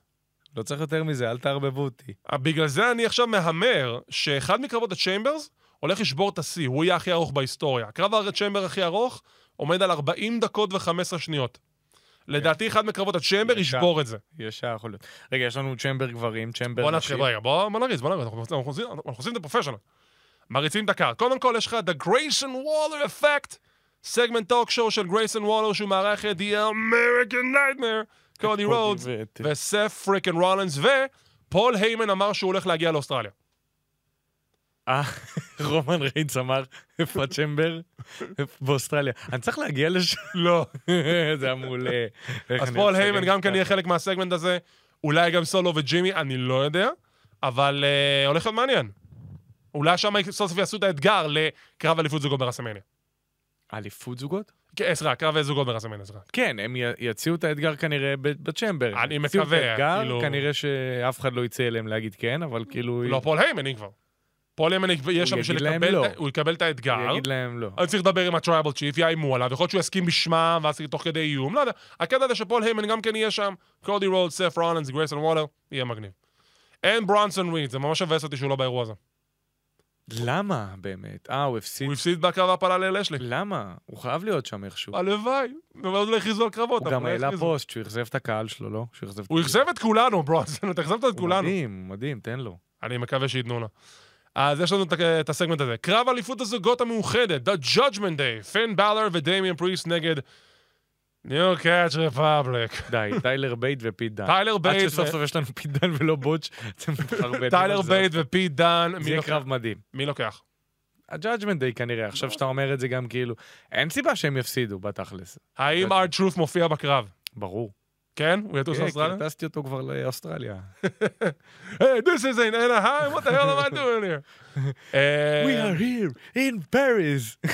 Speaker 5: לא צריך יותר מזה, אל תערבבו אותי.
Speaker 4: אה, בגלל זה אני עכשיו מהמר שאחד מקרבות הצ'יימברס הולך לשבור את השיא, הוא יהיה הכי ארוך בהיסטוריה. קרב הצ'יימבר הכי ארוך עומד על 40 דקות ו-15 שניות. לדעתי אחד מקרבות הצ'יימבר
Speaker 5: ישר.
Speaker 4: ישבור את זה.
Speaker 5: ישר יכול להיות. רגע, יש לנו צ'מבר גברים, צ'מבר
Speaker 4: בוא
Speaker 5: נשים.
Speaker 4: נתחיל, רגע, בוא בוא נריץ, בוא נריץ, אנחנו אנחנו עושים- אנחנו עושים את הפרופשיונל. מריצים את הקר. קודם כל יש לך את הגרייסון וולר אפקט, סגמנט טוק שואו של גרייסון וולר שהוא מארח את The American Nightmare, קודי רודס,
Speaker 5: ואת-
Speaker 4: וסף פריקן רולנס, ופול היימן אמר שהוא הולך להגיע לאוסטרליה.
Speaker 5: אה, [LAUGHS] רומן ריינס אמר, איפה הצ'מבר? איפה- באוסטרליה. אני צריך להגיע לשם? לא. [LAUGHS] זה היה מעולה. איך
Speaker 4: אז
Speaker 5: אני
Speaker 4: פול
Speaker 5: אסיים
Speaker 4: היימן גם כן
Speaker 5: ככה?
Speaker 4: יהיה חלק מהסגמנט הזה, אולי גם סולו וג'ימי, אני לא יודע, אבל אה, הולך להיות מעניין. אולי שם סוף סוף יעשו את האתגר לקרב אליפות זוגות ברסמניה.
Speaker 5: אליפות זוגות?
Speaker 4: כן, עזרא, קרב זוגות ברסמניה, עזרא.
Speaker 5: כן, הם י- יציעו את האתגר כנראה ב- בצ'מבר.
Speaker 4: אני
Speaker 5: יציעו את
Speaker 4: מקווה,
Speaker 5: האתגר,
Speaker 4: כאילו-
Speaker 5: כנראה שאף אחד לא יצא אליהם להגיד כן, אבל כאילו...
Speaker 4: לא, פול היימן היא כבר. פול היימן יהיה שם
Speaker 5: יגיד
Speaker 4: בשביל
Speaker 5: להם
Speaker 4: לקבל,
Speaker 5: לא.
Speaker 4: את ה- הוא יקבל את האתגר.
Speaker 5: הוא יגיד להם לא.
Speaker 4: אני צריך לדבר עם הטרייבל צ'יף, יאיימו עליו, יכול להיות שהוא יסכים בשמם, ואז תוך כדי איום, לא יודע. הקטע הזה שפול היימן גם כן יהיה שם, קודי רולד, סף רולנס, גרייסון וולר, יהיה מגניב. אין ברונסון ריד, זה ממש מבאס אותי שהוא לא באירוע הזה.
Speaker 5: למה באמת? אה, הוא הפסיד.
Speaker 4: הוא הפסיד בקרב ההפלה ללשלי.
Speaker 5: למה? הוא חייב להיות שם איכשהו.
Speaker 4: הלוואי, ועוד לא הכריזו על קרבות.
Speaker 5: הוא
Speaker 4: אבל
Speaker 5: גם
Speaker 4: אה, לא
Speaker 5: העלה
Speaker 4: הכריזו.
Speaker 5: פוסט שהוא אכזב את הקהל שלו, לא? שהוא אכזב את
Speaker 4: הוא אכזב את כולנו, ברונזון, [LAUGHS] אתה אכזבת את
Speaker 5: הוא
Speaker 4: כולנו.
Speaker 5: מדהים, הוא מדהים, תן לו.
Speaker 4: אני מקווה שייתנו לה. אז יש לנו את ה- את הסגמנט הזה. קרב אליפות הזוגות המאוחדת, The Judgment Day, פין בלר ודמיאן פריסט נגד ניו קאץ' רפבליק.
Speaker 5: די, טיילר בייט ופיט דן.
Speaker 4: טיילר בייט
Speaker 5: אה, עד שסוף
Speaker 4: ו-
Speaker 5: סוף יש לנו פיט דן ולא בוטש, [LAUGHS] זה מתחרבן.
Speaker 4: טיילר בייט ופי דן, מי לא-
Speaker 5: זה יהיה
Speaker 4: לוקח?
Speaker 5: קרב מדהים.
Speaker 4: מי לוקח?
Speaker 5: הג'אג'מנט דיי כנראה, עכשיו שאתה אומר את זה גם כאילו, אין סיבה שהם יפסידו בתכלס.
Speaker 4: האם ארד טרוף מופיע בקרב?
Speaker 5: ברור.
Speaker 4: כן? הוא יטוס
Speaker 5: כן,
Speaker 4: לאוסטרליה?
Speaker 5: כי טסתי אותו כבר לאוסטרליה.
Speaker 4: כן. היי, this is in Anaheim, what the hell am I doing here?
Speaker 5: [LAUGHS]
Speaker 4: אה,
Speaker 5: here in
Speaker 4: [LAUGHS]
Speaker 5: Paris.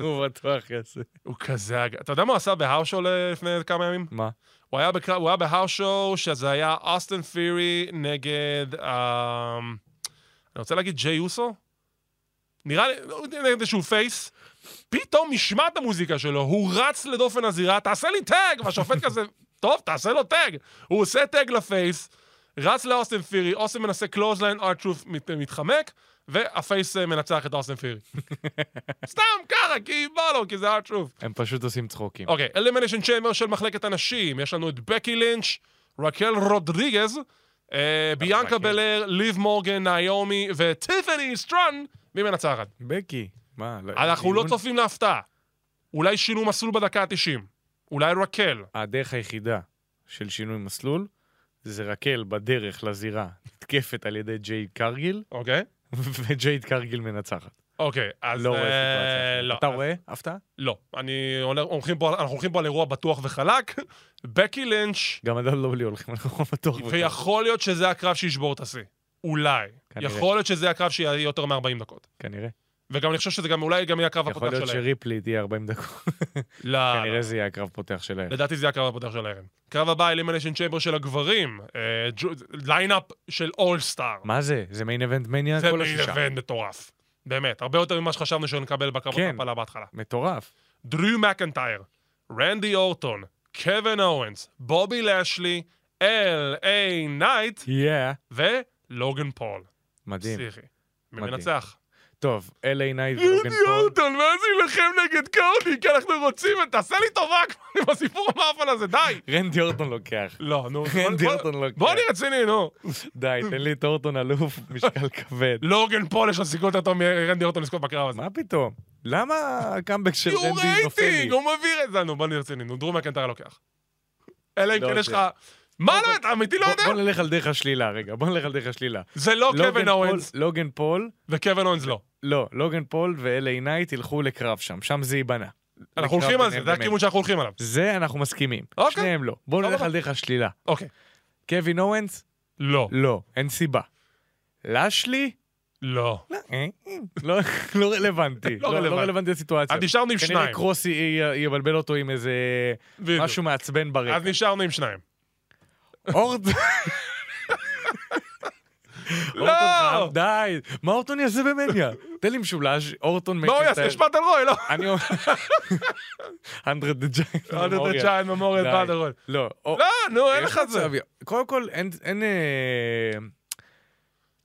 Speaker 5: הוא בטוח יעשה.
Speaker 4: הוא כזה... אג- אתה יודע מה הוא עשה בהאושו לפני כמה ימים?
Speaker 5: מה?
Speaker 4: הוא היה, בקרב, הוא היה בהאושו, שזה היה אוסטן פירי נגד... אמ, אני רוצה להגיד ג'יי אוסו? נראה לי, לא, נגד איזשהו פייס. פתאום נשמע את המוזיקה שלו, הוא רץ לדופן הזירה, תעשה לי טאג! והשופט כזה, טוב, תעשה לו טאג! הוא עושה טאג לפייס, רץ לאוסטן פירי, אוסטן מנסה קלוזליין, ארטרוף מת, מתחמק, והפייס אה, מנצח את אוסטן פירי. סתם ככה, כי בא לו, כי זה ארטרוף.
Speaker 5: הם פשוט עושים צחוקים.
Speaker 4: אוקיי, אלימיניישן צ'יימר של מחלקת הנשים, יש לנו את בקי לינץ', רקל רודריגז, אה, ביאנקה
Speaker 5: רקל.
Speaker 4: בלר, ליב מורגן, נעיומי וטיפני סטרון, מי מנצחת?
Speaker 5: בקי, מה? לא-
Speaker 4: אוקיי. אנחנו לא
Speaker 5: דיון?
Speaker 4: צופים להפתעה. אולי שינו מסלול בדקה ה-90. אולי רקל.
Speaker 5: הדרך היחידה של שינוי מסלול זה רקל בדרך לזירה נתקפת על ידי ג'ייד קרגיל,
Speaker 4: אוקיי?
Speaker 5: [LAUGHS] וג'ייד קרגיל מנצחת.
Speaker 4: אוקיי, אז...
Speaker 5: לא
Speaker 4: אה,
Speaker 5: רואה סיטואציה. אחרת.
Speaker 4: לא.
Speaker 5: אתה
Speaker 4: אז-
Speaker 5: רואה? הפתעה?
Speaker 4: לא. אני הולך- הולכים פה על- אנחנו הולכים פה על אירוע בטוח וחלק. בקי לינץ',
Speaker 5: גם הדולולי הולכים לחום בטוח.
Speaker 4: ויכול להיות שזה הקרב שישבור את השיא. אולי.
Speaker 5: כנראה.
Speaker 4: יכול להיות שזה הקרב שיהיה יותר מ-40 דקות.
Speaker 5: כנראה.
Speaker 4: וגם אני חושב שזה גם אולי גם יהיה הקרב
Speaker 5: יכול
Speaker 4: הפותח
Speaker 5: להיות
Speaker 4: שלהם.
Speaker 5: שריפלי תהיה 40 דקות.
Speaker 4: לא, לא.
Speaker 5: כנראה זה יהיה הקרב פותח שלהם.
Speaker 4: לדעתי זה הקרב הפותח של הערב. קרב הבא, אלימיניישן צ'יימבר של הגברים. אה, ג'ו- ליינאפ של אול סטאר.
Speaker 5: מה זה? זה מיין אבנט מניה?
Speaker 4: זה
Speaker 5: כל
Speaker 4: מיין
Speaker 5: השישה.
Speaker 4: אבנט מטורף. באמת, הרבה יותר ממה שחשבנו שנקבל בקרב
Speaker 5: כן.
Speaker 4: הפעלה בהתחלה.
Speaker 5: מטורף.
Speaker 4: דרו מקנטייר, רנדי אורטון, קווין אורנס, בובי לשלי, אל איי נייט
Speaker 5: יאה.
Speaker 4: ולוגן פול.
Speaker 5: מדהים.
Speaker 4: פסיכי. מי
Speaker 5: מדהים.
Speaker 4: מנצח?
Speaker 5: טוב, LA נייט ולוגן
Speaker 4: רנדי
Speaker 5: פול.
Speaker 4: אורטון, מה זה יילחם נגד קורני? כי אנחנו רוצים... תעשה לי טובה [LAUGHS] כבר עם הסיפור המאפל הזה, די!
Speaker 5: רנדי אורטון לוקח.
Speaker 4: לא,
Speaker 5: [LAUGHS]
Speaker 4: נו.
Speaker 5: רנדי
Speaker 4: בוא-
Speaker 5: אורטון לוקח.
Speaker 4: בוא אני רציני,
Speaker 5: [LAUGHS]
Speaker 4: נו.
Speaker 5: די, תן לי את אורטון אלוף, [LAUGHS] משקל כבד.
Speaker 4: לוגן פול לא יש לו סיכוי יותר טוב מרנדי אורטון לזכות בקרב הזה.
Speaker 5: מה פתאום? למה הקאמבק של
Speaker 4: כי הוא
Speaker 5: רנדי נופל לי?
Speaker 4: רייטינג, הוא מביא את זה. נו, בוא נהיה רציני, נו, דרום מקנטר לוקח. אלא אם
Speaker 5: לא
Speaker 4: כן יש לך...
Speaker 5: יודע.
Speaker 4: מה לא, אתה אמיתי לא
Speaker 5: בוא-
Speaker 4: יודע?
Speaker 5: בוא נלך על דרך השלילה רגע, בוא נלך על דרך השלילה.
Speaker 4: זה לא
Speaker 5: לוגן
Speaker 4: קווין
Speaker 5: פול-
Speaker 4: אורנס,
Speaker 5: לוגן פול,
Speaker 4: וקווין אורנס לא.
Speaker 5: לא, לוגן פול ו-LA נייט ילכו לקרב שם, שם זה ייבנה.
Speaker 4: אנחנו
Speaker 5: לקרב
Speaker 4: הולכים על זה,
Speaker 5: ביניהם
Speaker 4: זה
Speaker 5: באמת.
Speaker 4: הכיוון שאנחנו הולכים עליו.
Speaker 5: זה אנחנו מסכימים.
Speaker 4: אוקיי.
Speaker 5: שניהם לא. בואו נלך
Speaker 4: סבבה.
Speaker 5: על דרך השלילה.
Speaker 4: אוקיי.
Speaker 5: קווין אורנס?
Speaker 4: לא.
Speaker 5: לא, אין סיבה. לשלי?
Speaker 4: לא.
Speaker 5: לא, אה, אה. לא לא רלוונטי.
Speaker 4: לא
Speaker 5: לא לא
Speaker 4: רלוונטי.
Speaker 5: רלוונטי לסיטואציה.
Speaker 4: אז נשארנו עם
Speaker 5: כנראה
Speaker 4: שניים.
Speaker 5: קרוס י- י- יבלבל אותו עם איזה
Speaker 4: בדיוק.
Speaker 5: משהו מעצבן ברקע.
Speaker 4: אז נשארנו עם שניים.
Speaker 5: אורט...
Speaker 4: לא!
Speaker 5: אורטון חם, די, מה אורטון יעשה במניה? תן לי משולש, אורטון
Speaker 4: מה הוא יעשה?
Speaker 5: מקנטייר.
Speaker 4: משפט על רוי, לא?
Speaker 5: אני אומר... אנדרד דה ג'יינט.
Speaker 4: עוד יותר צ'יין ממוריאל
Speaker 5: די.
Speaker 4: בעד הרוי.
Speaker 5: לא, או-
Speaker 4: לא, נו, אין
Speaker 5: יש
Speaker 4: לך את זה.
Speaker 5: מצב, קודם כל, אין- אין... אה,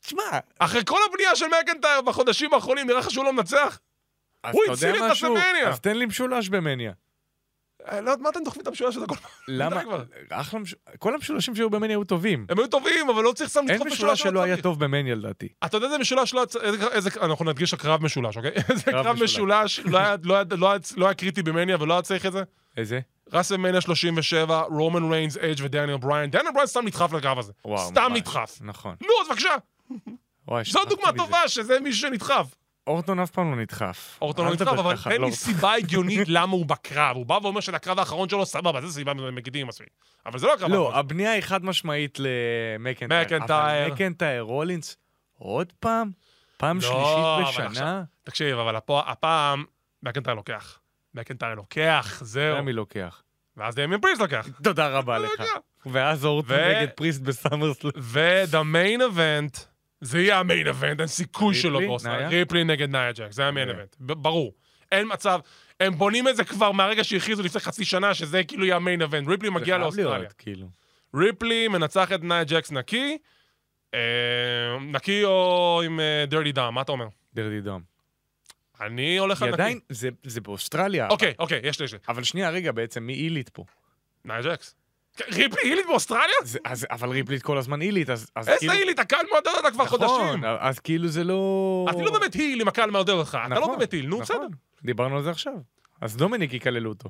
Speaker 5: תשמע,
Speaker 4: אחרי כל הבנייה של מקנטייר בחודשים האחרונים, נראה לך שהוא לא מנצח?
Speaker 5: אז
Speaker 4: הוא
Speaker 5: אתה
Speaker 4: הציל
Speaker 5: יודע
Speaker 4: את
Speaker 5: משהו?
Speaker 4: הסמניה.
Speaker 5: אז תן לי משולש במניה.
Speaker 4: אה, לא, מה אתם דוחפים את המשולש הזה כל פעם?
Speaker 5: למה?
Speaker 4: די כבר.
Speaker 5: אחלה מש- כל המשולשים שהיו במניה היו טובים.
Speaker 4: הם היו טובים, אבל לא צריך סתם
Speaker 5: אין
Speaker 4: לדחוף
Speaker 5: משולש
Speaker 4: משולש
Speaker 5: שלא היה
Speaker 4: צריך.
Speaker 5: טוב במניה לדעתי.
Speaker 4: אתה יודע איזה משולש לא... היה- איזה- איזה... אנחנו נדגיש הקרב משולש, אוקיי? איזה קרב
Speaker 5: משולש.
Speaker 4: משולש לא היה- לא היה- לא היה- לא היה קריטי במניה ולא היה צריך את זה?
Speaker 5: איזה?
Speaker 4: ראסלמניה 37, רומן ריינס, אייג' ודניאל בריין. דניאל בריין סתם נדחף לקרב הזה.
Speaker 5: וואו,
Speaker 4: סתם
Speaker 5: ממש.
Speaker 4: נדחף.
Speaker 5: נכון.
Speaker 4: נו, אז בבקשה.
Speaker 5: וואי,
Speaker 4: זו
Speaker 5: שכחתי
Speaker 4: דוגמה
Speaker 5: מזה.
Speaker 4: טובה שזה מישהו שנדחף.
Speaker 5: אורטון אף פעם לא נדחף.
Speaker 4: אורטון
Speaker 5: אל
Speaker 4: לא נדחף,
Speaker 5: תדבר
Speaker 4: אבל
Speaker 5: ככה,
Speaker 4: אין
Speaker 5: לא.
Speaker 4: לי סיבה הגיונית [LAUGHS] למה הוא בקרב. הוא בא ואומר שלקרב האחרון שלו סבבה, זה סיבה מגידים מספיק. אבל זה לא הקרב האחרון.
Speaker 5: לא, הבנייה היא חד משמעית למקנטייר.
Speaker 4: מקנטייר.
Speaker 5: אבל מקנטייר, רולינס, עוד פעם? פעם
Speaker 4: לא, אבל
Speaker 5: שלישית
Speaker 4: עכשיו-
Speaker 5: בשנה?
Speaker 4: תקשיב, אבל הפוע- הפעם מקנטייר לוקח. מקנטייר לוקח, זהו.
Speaker 5: זה מי לוקח.
Speaker 4: ואז דמיין פריס לוקח.
Speaker 5: תודה רבה לך.
Speaker 4: לוקח.
Speaker 5: ואז אורטון
Speaker 4: ו-
Speaker 5: נגד פריסט בסאמרסלאם.
Speaker 4: ו-the main event, זה יהיה המיין אבנט, אין סיכוי שלא
Speaker 5: ריפלי?
Speaker 4: בוסר.
Speaker 5: נאיה?
Speaker 4: ריפלי נגד נאיה ג'ק, זה המיין
Speaker 5: אוקיי.
Speaker 4: אבנט, ב- ברור. אין מצב, הם בונים את זה כבר מהרגע שהכריזו לפני חצי שנה, שזה כאילו יהיה המיין אבנט. ריפלי מגיע לאוסטרליה.
Speaker 5: כאילו.
Speaker 4: ריפלי מנצח את נאיה ג'קס נקי, אה, נקי או עם דרדי דם, מה אתה אומר?
Speaker 5: דרדי דום.
Speaker 4: אני הולך
Speaker 5: היא
Speaker 4: על
Speaker 5: עדיין,
Speaker 4: נקי.
Speaker 5: זה זה באוסטרליה.
Speaker 4: אוקיי, אוקיי, יש לי, יש לי.
Speaker 5: אבל שנייה, רגע, בעצם מי אילית פה?
Speaker 4: נאיה ג'קס. כן, ריפלי אילית באוסטרליה?
Speaker 5: זה- אז- אבל ריפלית כל הזמן אילית, אז אז
Speaker 4: איזה
Speaker 5: כאילו...
Speaker 4: אילית, הקהל מעודד אותה כבר חודשים.
Speaker 5: נכון, אז כאילו זה לא...
Speaker 4: אתה לא באמת היל אם הקהל מעודד אותך, אתה לא
Speaker 5: נכון,
Speaker 4: באמת היל, נו
Speaker 5: נכון.
Speaker 4: בסדר.
Speaker 5: דיברנו על זה עכשיו. אז דומיניק יקללו אותו.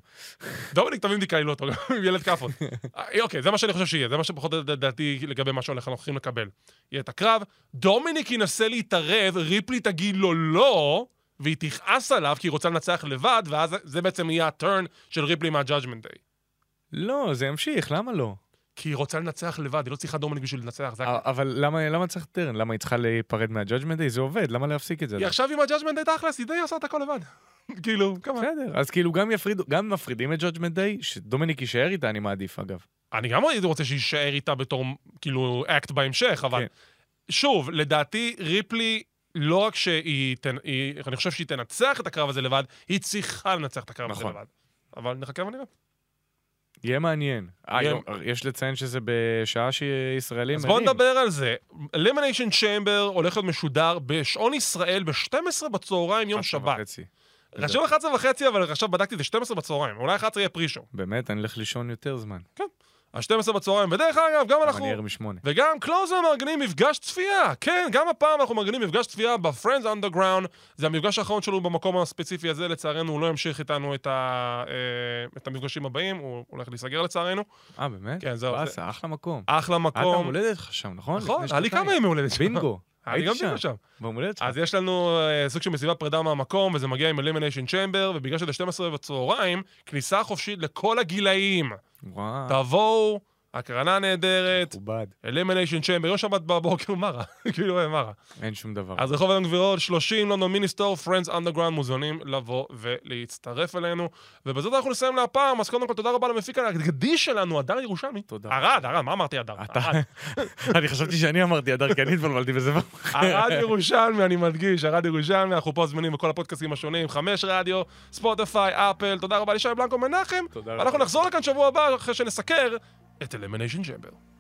Speaker 4: דומיניק תמיד יקללו אותו, לא גם עם ילד כאפות. אה, אוקיי, זה מה שאני חושב שיהיה, זה מה שפחות לדעתי לגבי מה שאנחנו הולכים לקבל. יהיה את הקרב, דומיניק ינסה להתערב, ריפלי תגיד לו לא, והיא תכעס עליו כי היא רוצה לנצח לבד, ואז זה בעצם יהיה הטרן של ריפלי מהג'אג'מנט דיי.
Speaker 5: לא, זה ימשיך, למה לא?
Speaker 4: כי היא רוצה לנצח לבד, היא לא צריכה דומיניק בשביל לנצח, זה הכ-
Speaker 5: א- אבל למה, למה צריך טרן? למה היא צריכה להיפרד מהג'אג'מנט דיי? זה עובד, למה להפסיק את זה?
Speaker 4: היא עכשיו עם הג'אג'מנט דיי תכלס, היא די עושה את הכל לבד. [LAUGHS] כאילו, כמה...
Speaker 5: בסדר, אז כאילו גם יפרידו, גם מפרידים את ג'אג'מנט דיי, שדומיניק יישאר איתה, אני מעדיף אגב.
Speaker 4: אני גם הייתי רוצה שיישאר איתה בתור, כאילו, אקט בהמשך, אבל...
Speaker 5: כן.
Speaker 4: שוב, לדעתי, ריפלי, לא רק שהיא... תנ... היא... אני חושב שהיא תנצח את הקרב הזה לבד, היא צריכה לנצח את הקרב
Speaker 5: נכון.
Speaker 4: הזה לבד. אבל נחכה ונראה.
Speaker 5: יהיה מעניין. אה,
Speaker 4: יהיה-
Speaker 5: יום- יש לציין שזה בשעה שישראלים...
Speaker 4: אז בואו
Speaker 5: ערים.
Speaker 4: נדבר על זה. אלימיניישן צ'יימבר הולך להיות משודר בשעון ישראל ב-12 בצהריים יום
Speaker 5: אחת
Speaker 4: שבת.
Speaker 5: וחצי.
Speaker 4: רשום 11 וחצי, אבל עכשיו בדקתי, זה 12 בצהריים. אולי 11 יהיה פרישו.
Speaker 5: באמת, אני הולך לישון יותר זמן.
Speaker 4: ה-12 בצהריים. ודרך אגב, גם אנחנו...
Speaker 5: אני ער משמונה.
Speaker 4: וגם קלוזר מארגנים מפגש צפייה. כן, גם הפעם אנחנו מארגנים מפגש צפייה ב-Friends Underground. זה המפגש האחרון שלו במקום הספציפי הזה, לצערנו הוא לא ימשיך איתנו את, ה... אה, את המפגשים הבאים, הוא הולך להיסגר לצערנו.
Speaker 5: אה, באמת?
Speaker 4: כן, זהו,
Speaker 5: באסה, אחלה מקום.
Speaker 4: אחלה
Speaker 5: היה את יום
Speaker 4: מקום.
Speaker 5: הולדת לך שם, נכון?
Speaker 4: נכון,
Speaker 5: לפני
Speaker 4: היה לי
Speaker 5: שנתיים.
Speaker 4: כמה ימי הולדת שם.
Speaker 5: בינגו.
Speaker 4: [LAUGHS] היה לי
Speaker 5: הייתי
Speaker 4: גם בדיוק שם.
Speaker 5: ביום הולדת שלך.
Speaker 4: אז יש לנו אה, סוג של מסיבת פרידה מהמקום, וזה מגיע עם אלימיניישן צ'מבר, ובגלל שזה 12 בצהריים, כניסה חופשית לכל הגילאים.
Speaker 5: אה. וואו,
Speaker 4: תבואו, הקרנה נהדרת,
Speaker 5: מכובד.
Speaker 4: אלימיניישן צ'מבר, יום שבת בבוקר, [LAUGHS] מה רע? כאילו, אה, מה רע?
Speaker 5: אין שום דבר.
Speaker 4: אז רחוב היום גבירול, 30, לונדון מיניסטור, פרנדס אנדרגראונד, מוזיאונים לבוא ולהצטרף אלינו. ובזאת אנחנו נסיים להפעם, אז קודם כל תודה רבה למפיק הגדי שלנו, הדר ירושלמי.
Speaker 5: תודה.
Speaker 4: ערד, ערד, מה אמרתי הדר?
Speaker 5: אתה-
Speaker 4: ערד.
Speaker 5: אני חשבתי שאני אמרתי, הדר, כי אני התבלבלתי בזה.
Speaker 4: ערד ירושלמי, אני מדגיש, ערד ירושלמי, אנחנו פה זמינים בכל הפודקאסטים השונים, חמש רדיו, ספוטיפיי, אפל, תודה רבה לישי בלנקו מנחם.
Speaker 5: תודה
Speaker 4: אנחנו
Speaker 5: רבה.
Speaker 4: נחזור לכאן שבוע הבא אחרי שנסקר את אלמניישן ג'מבר.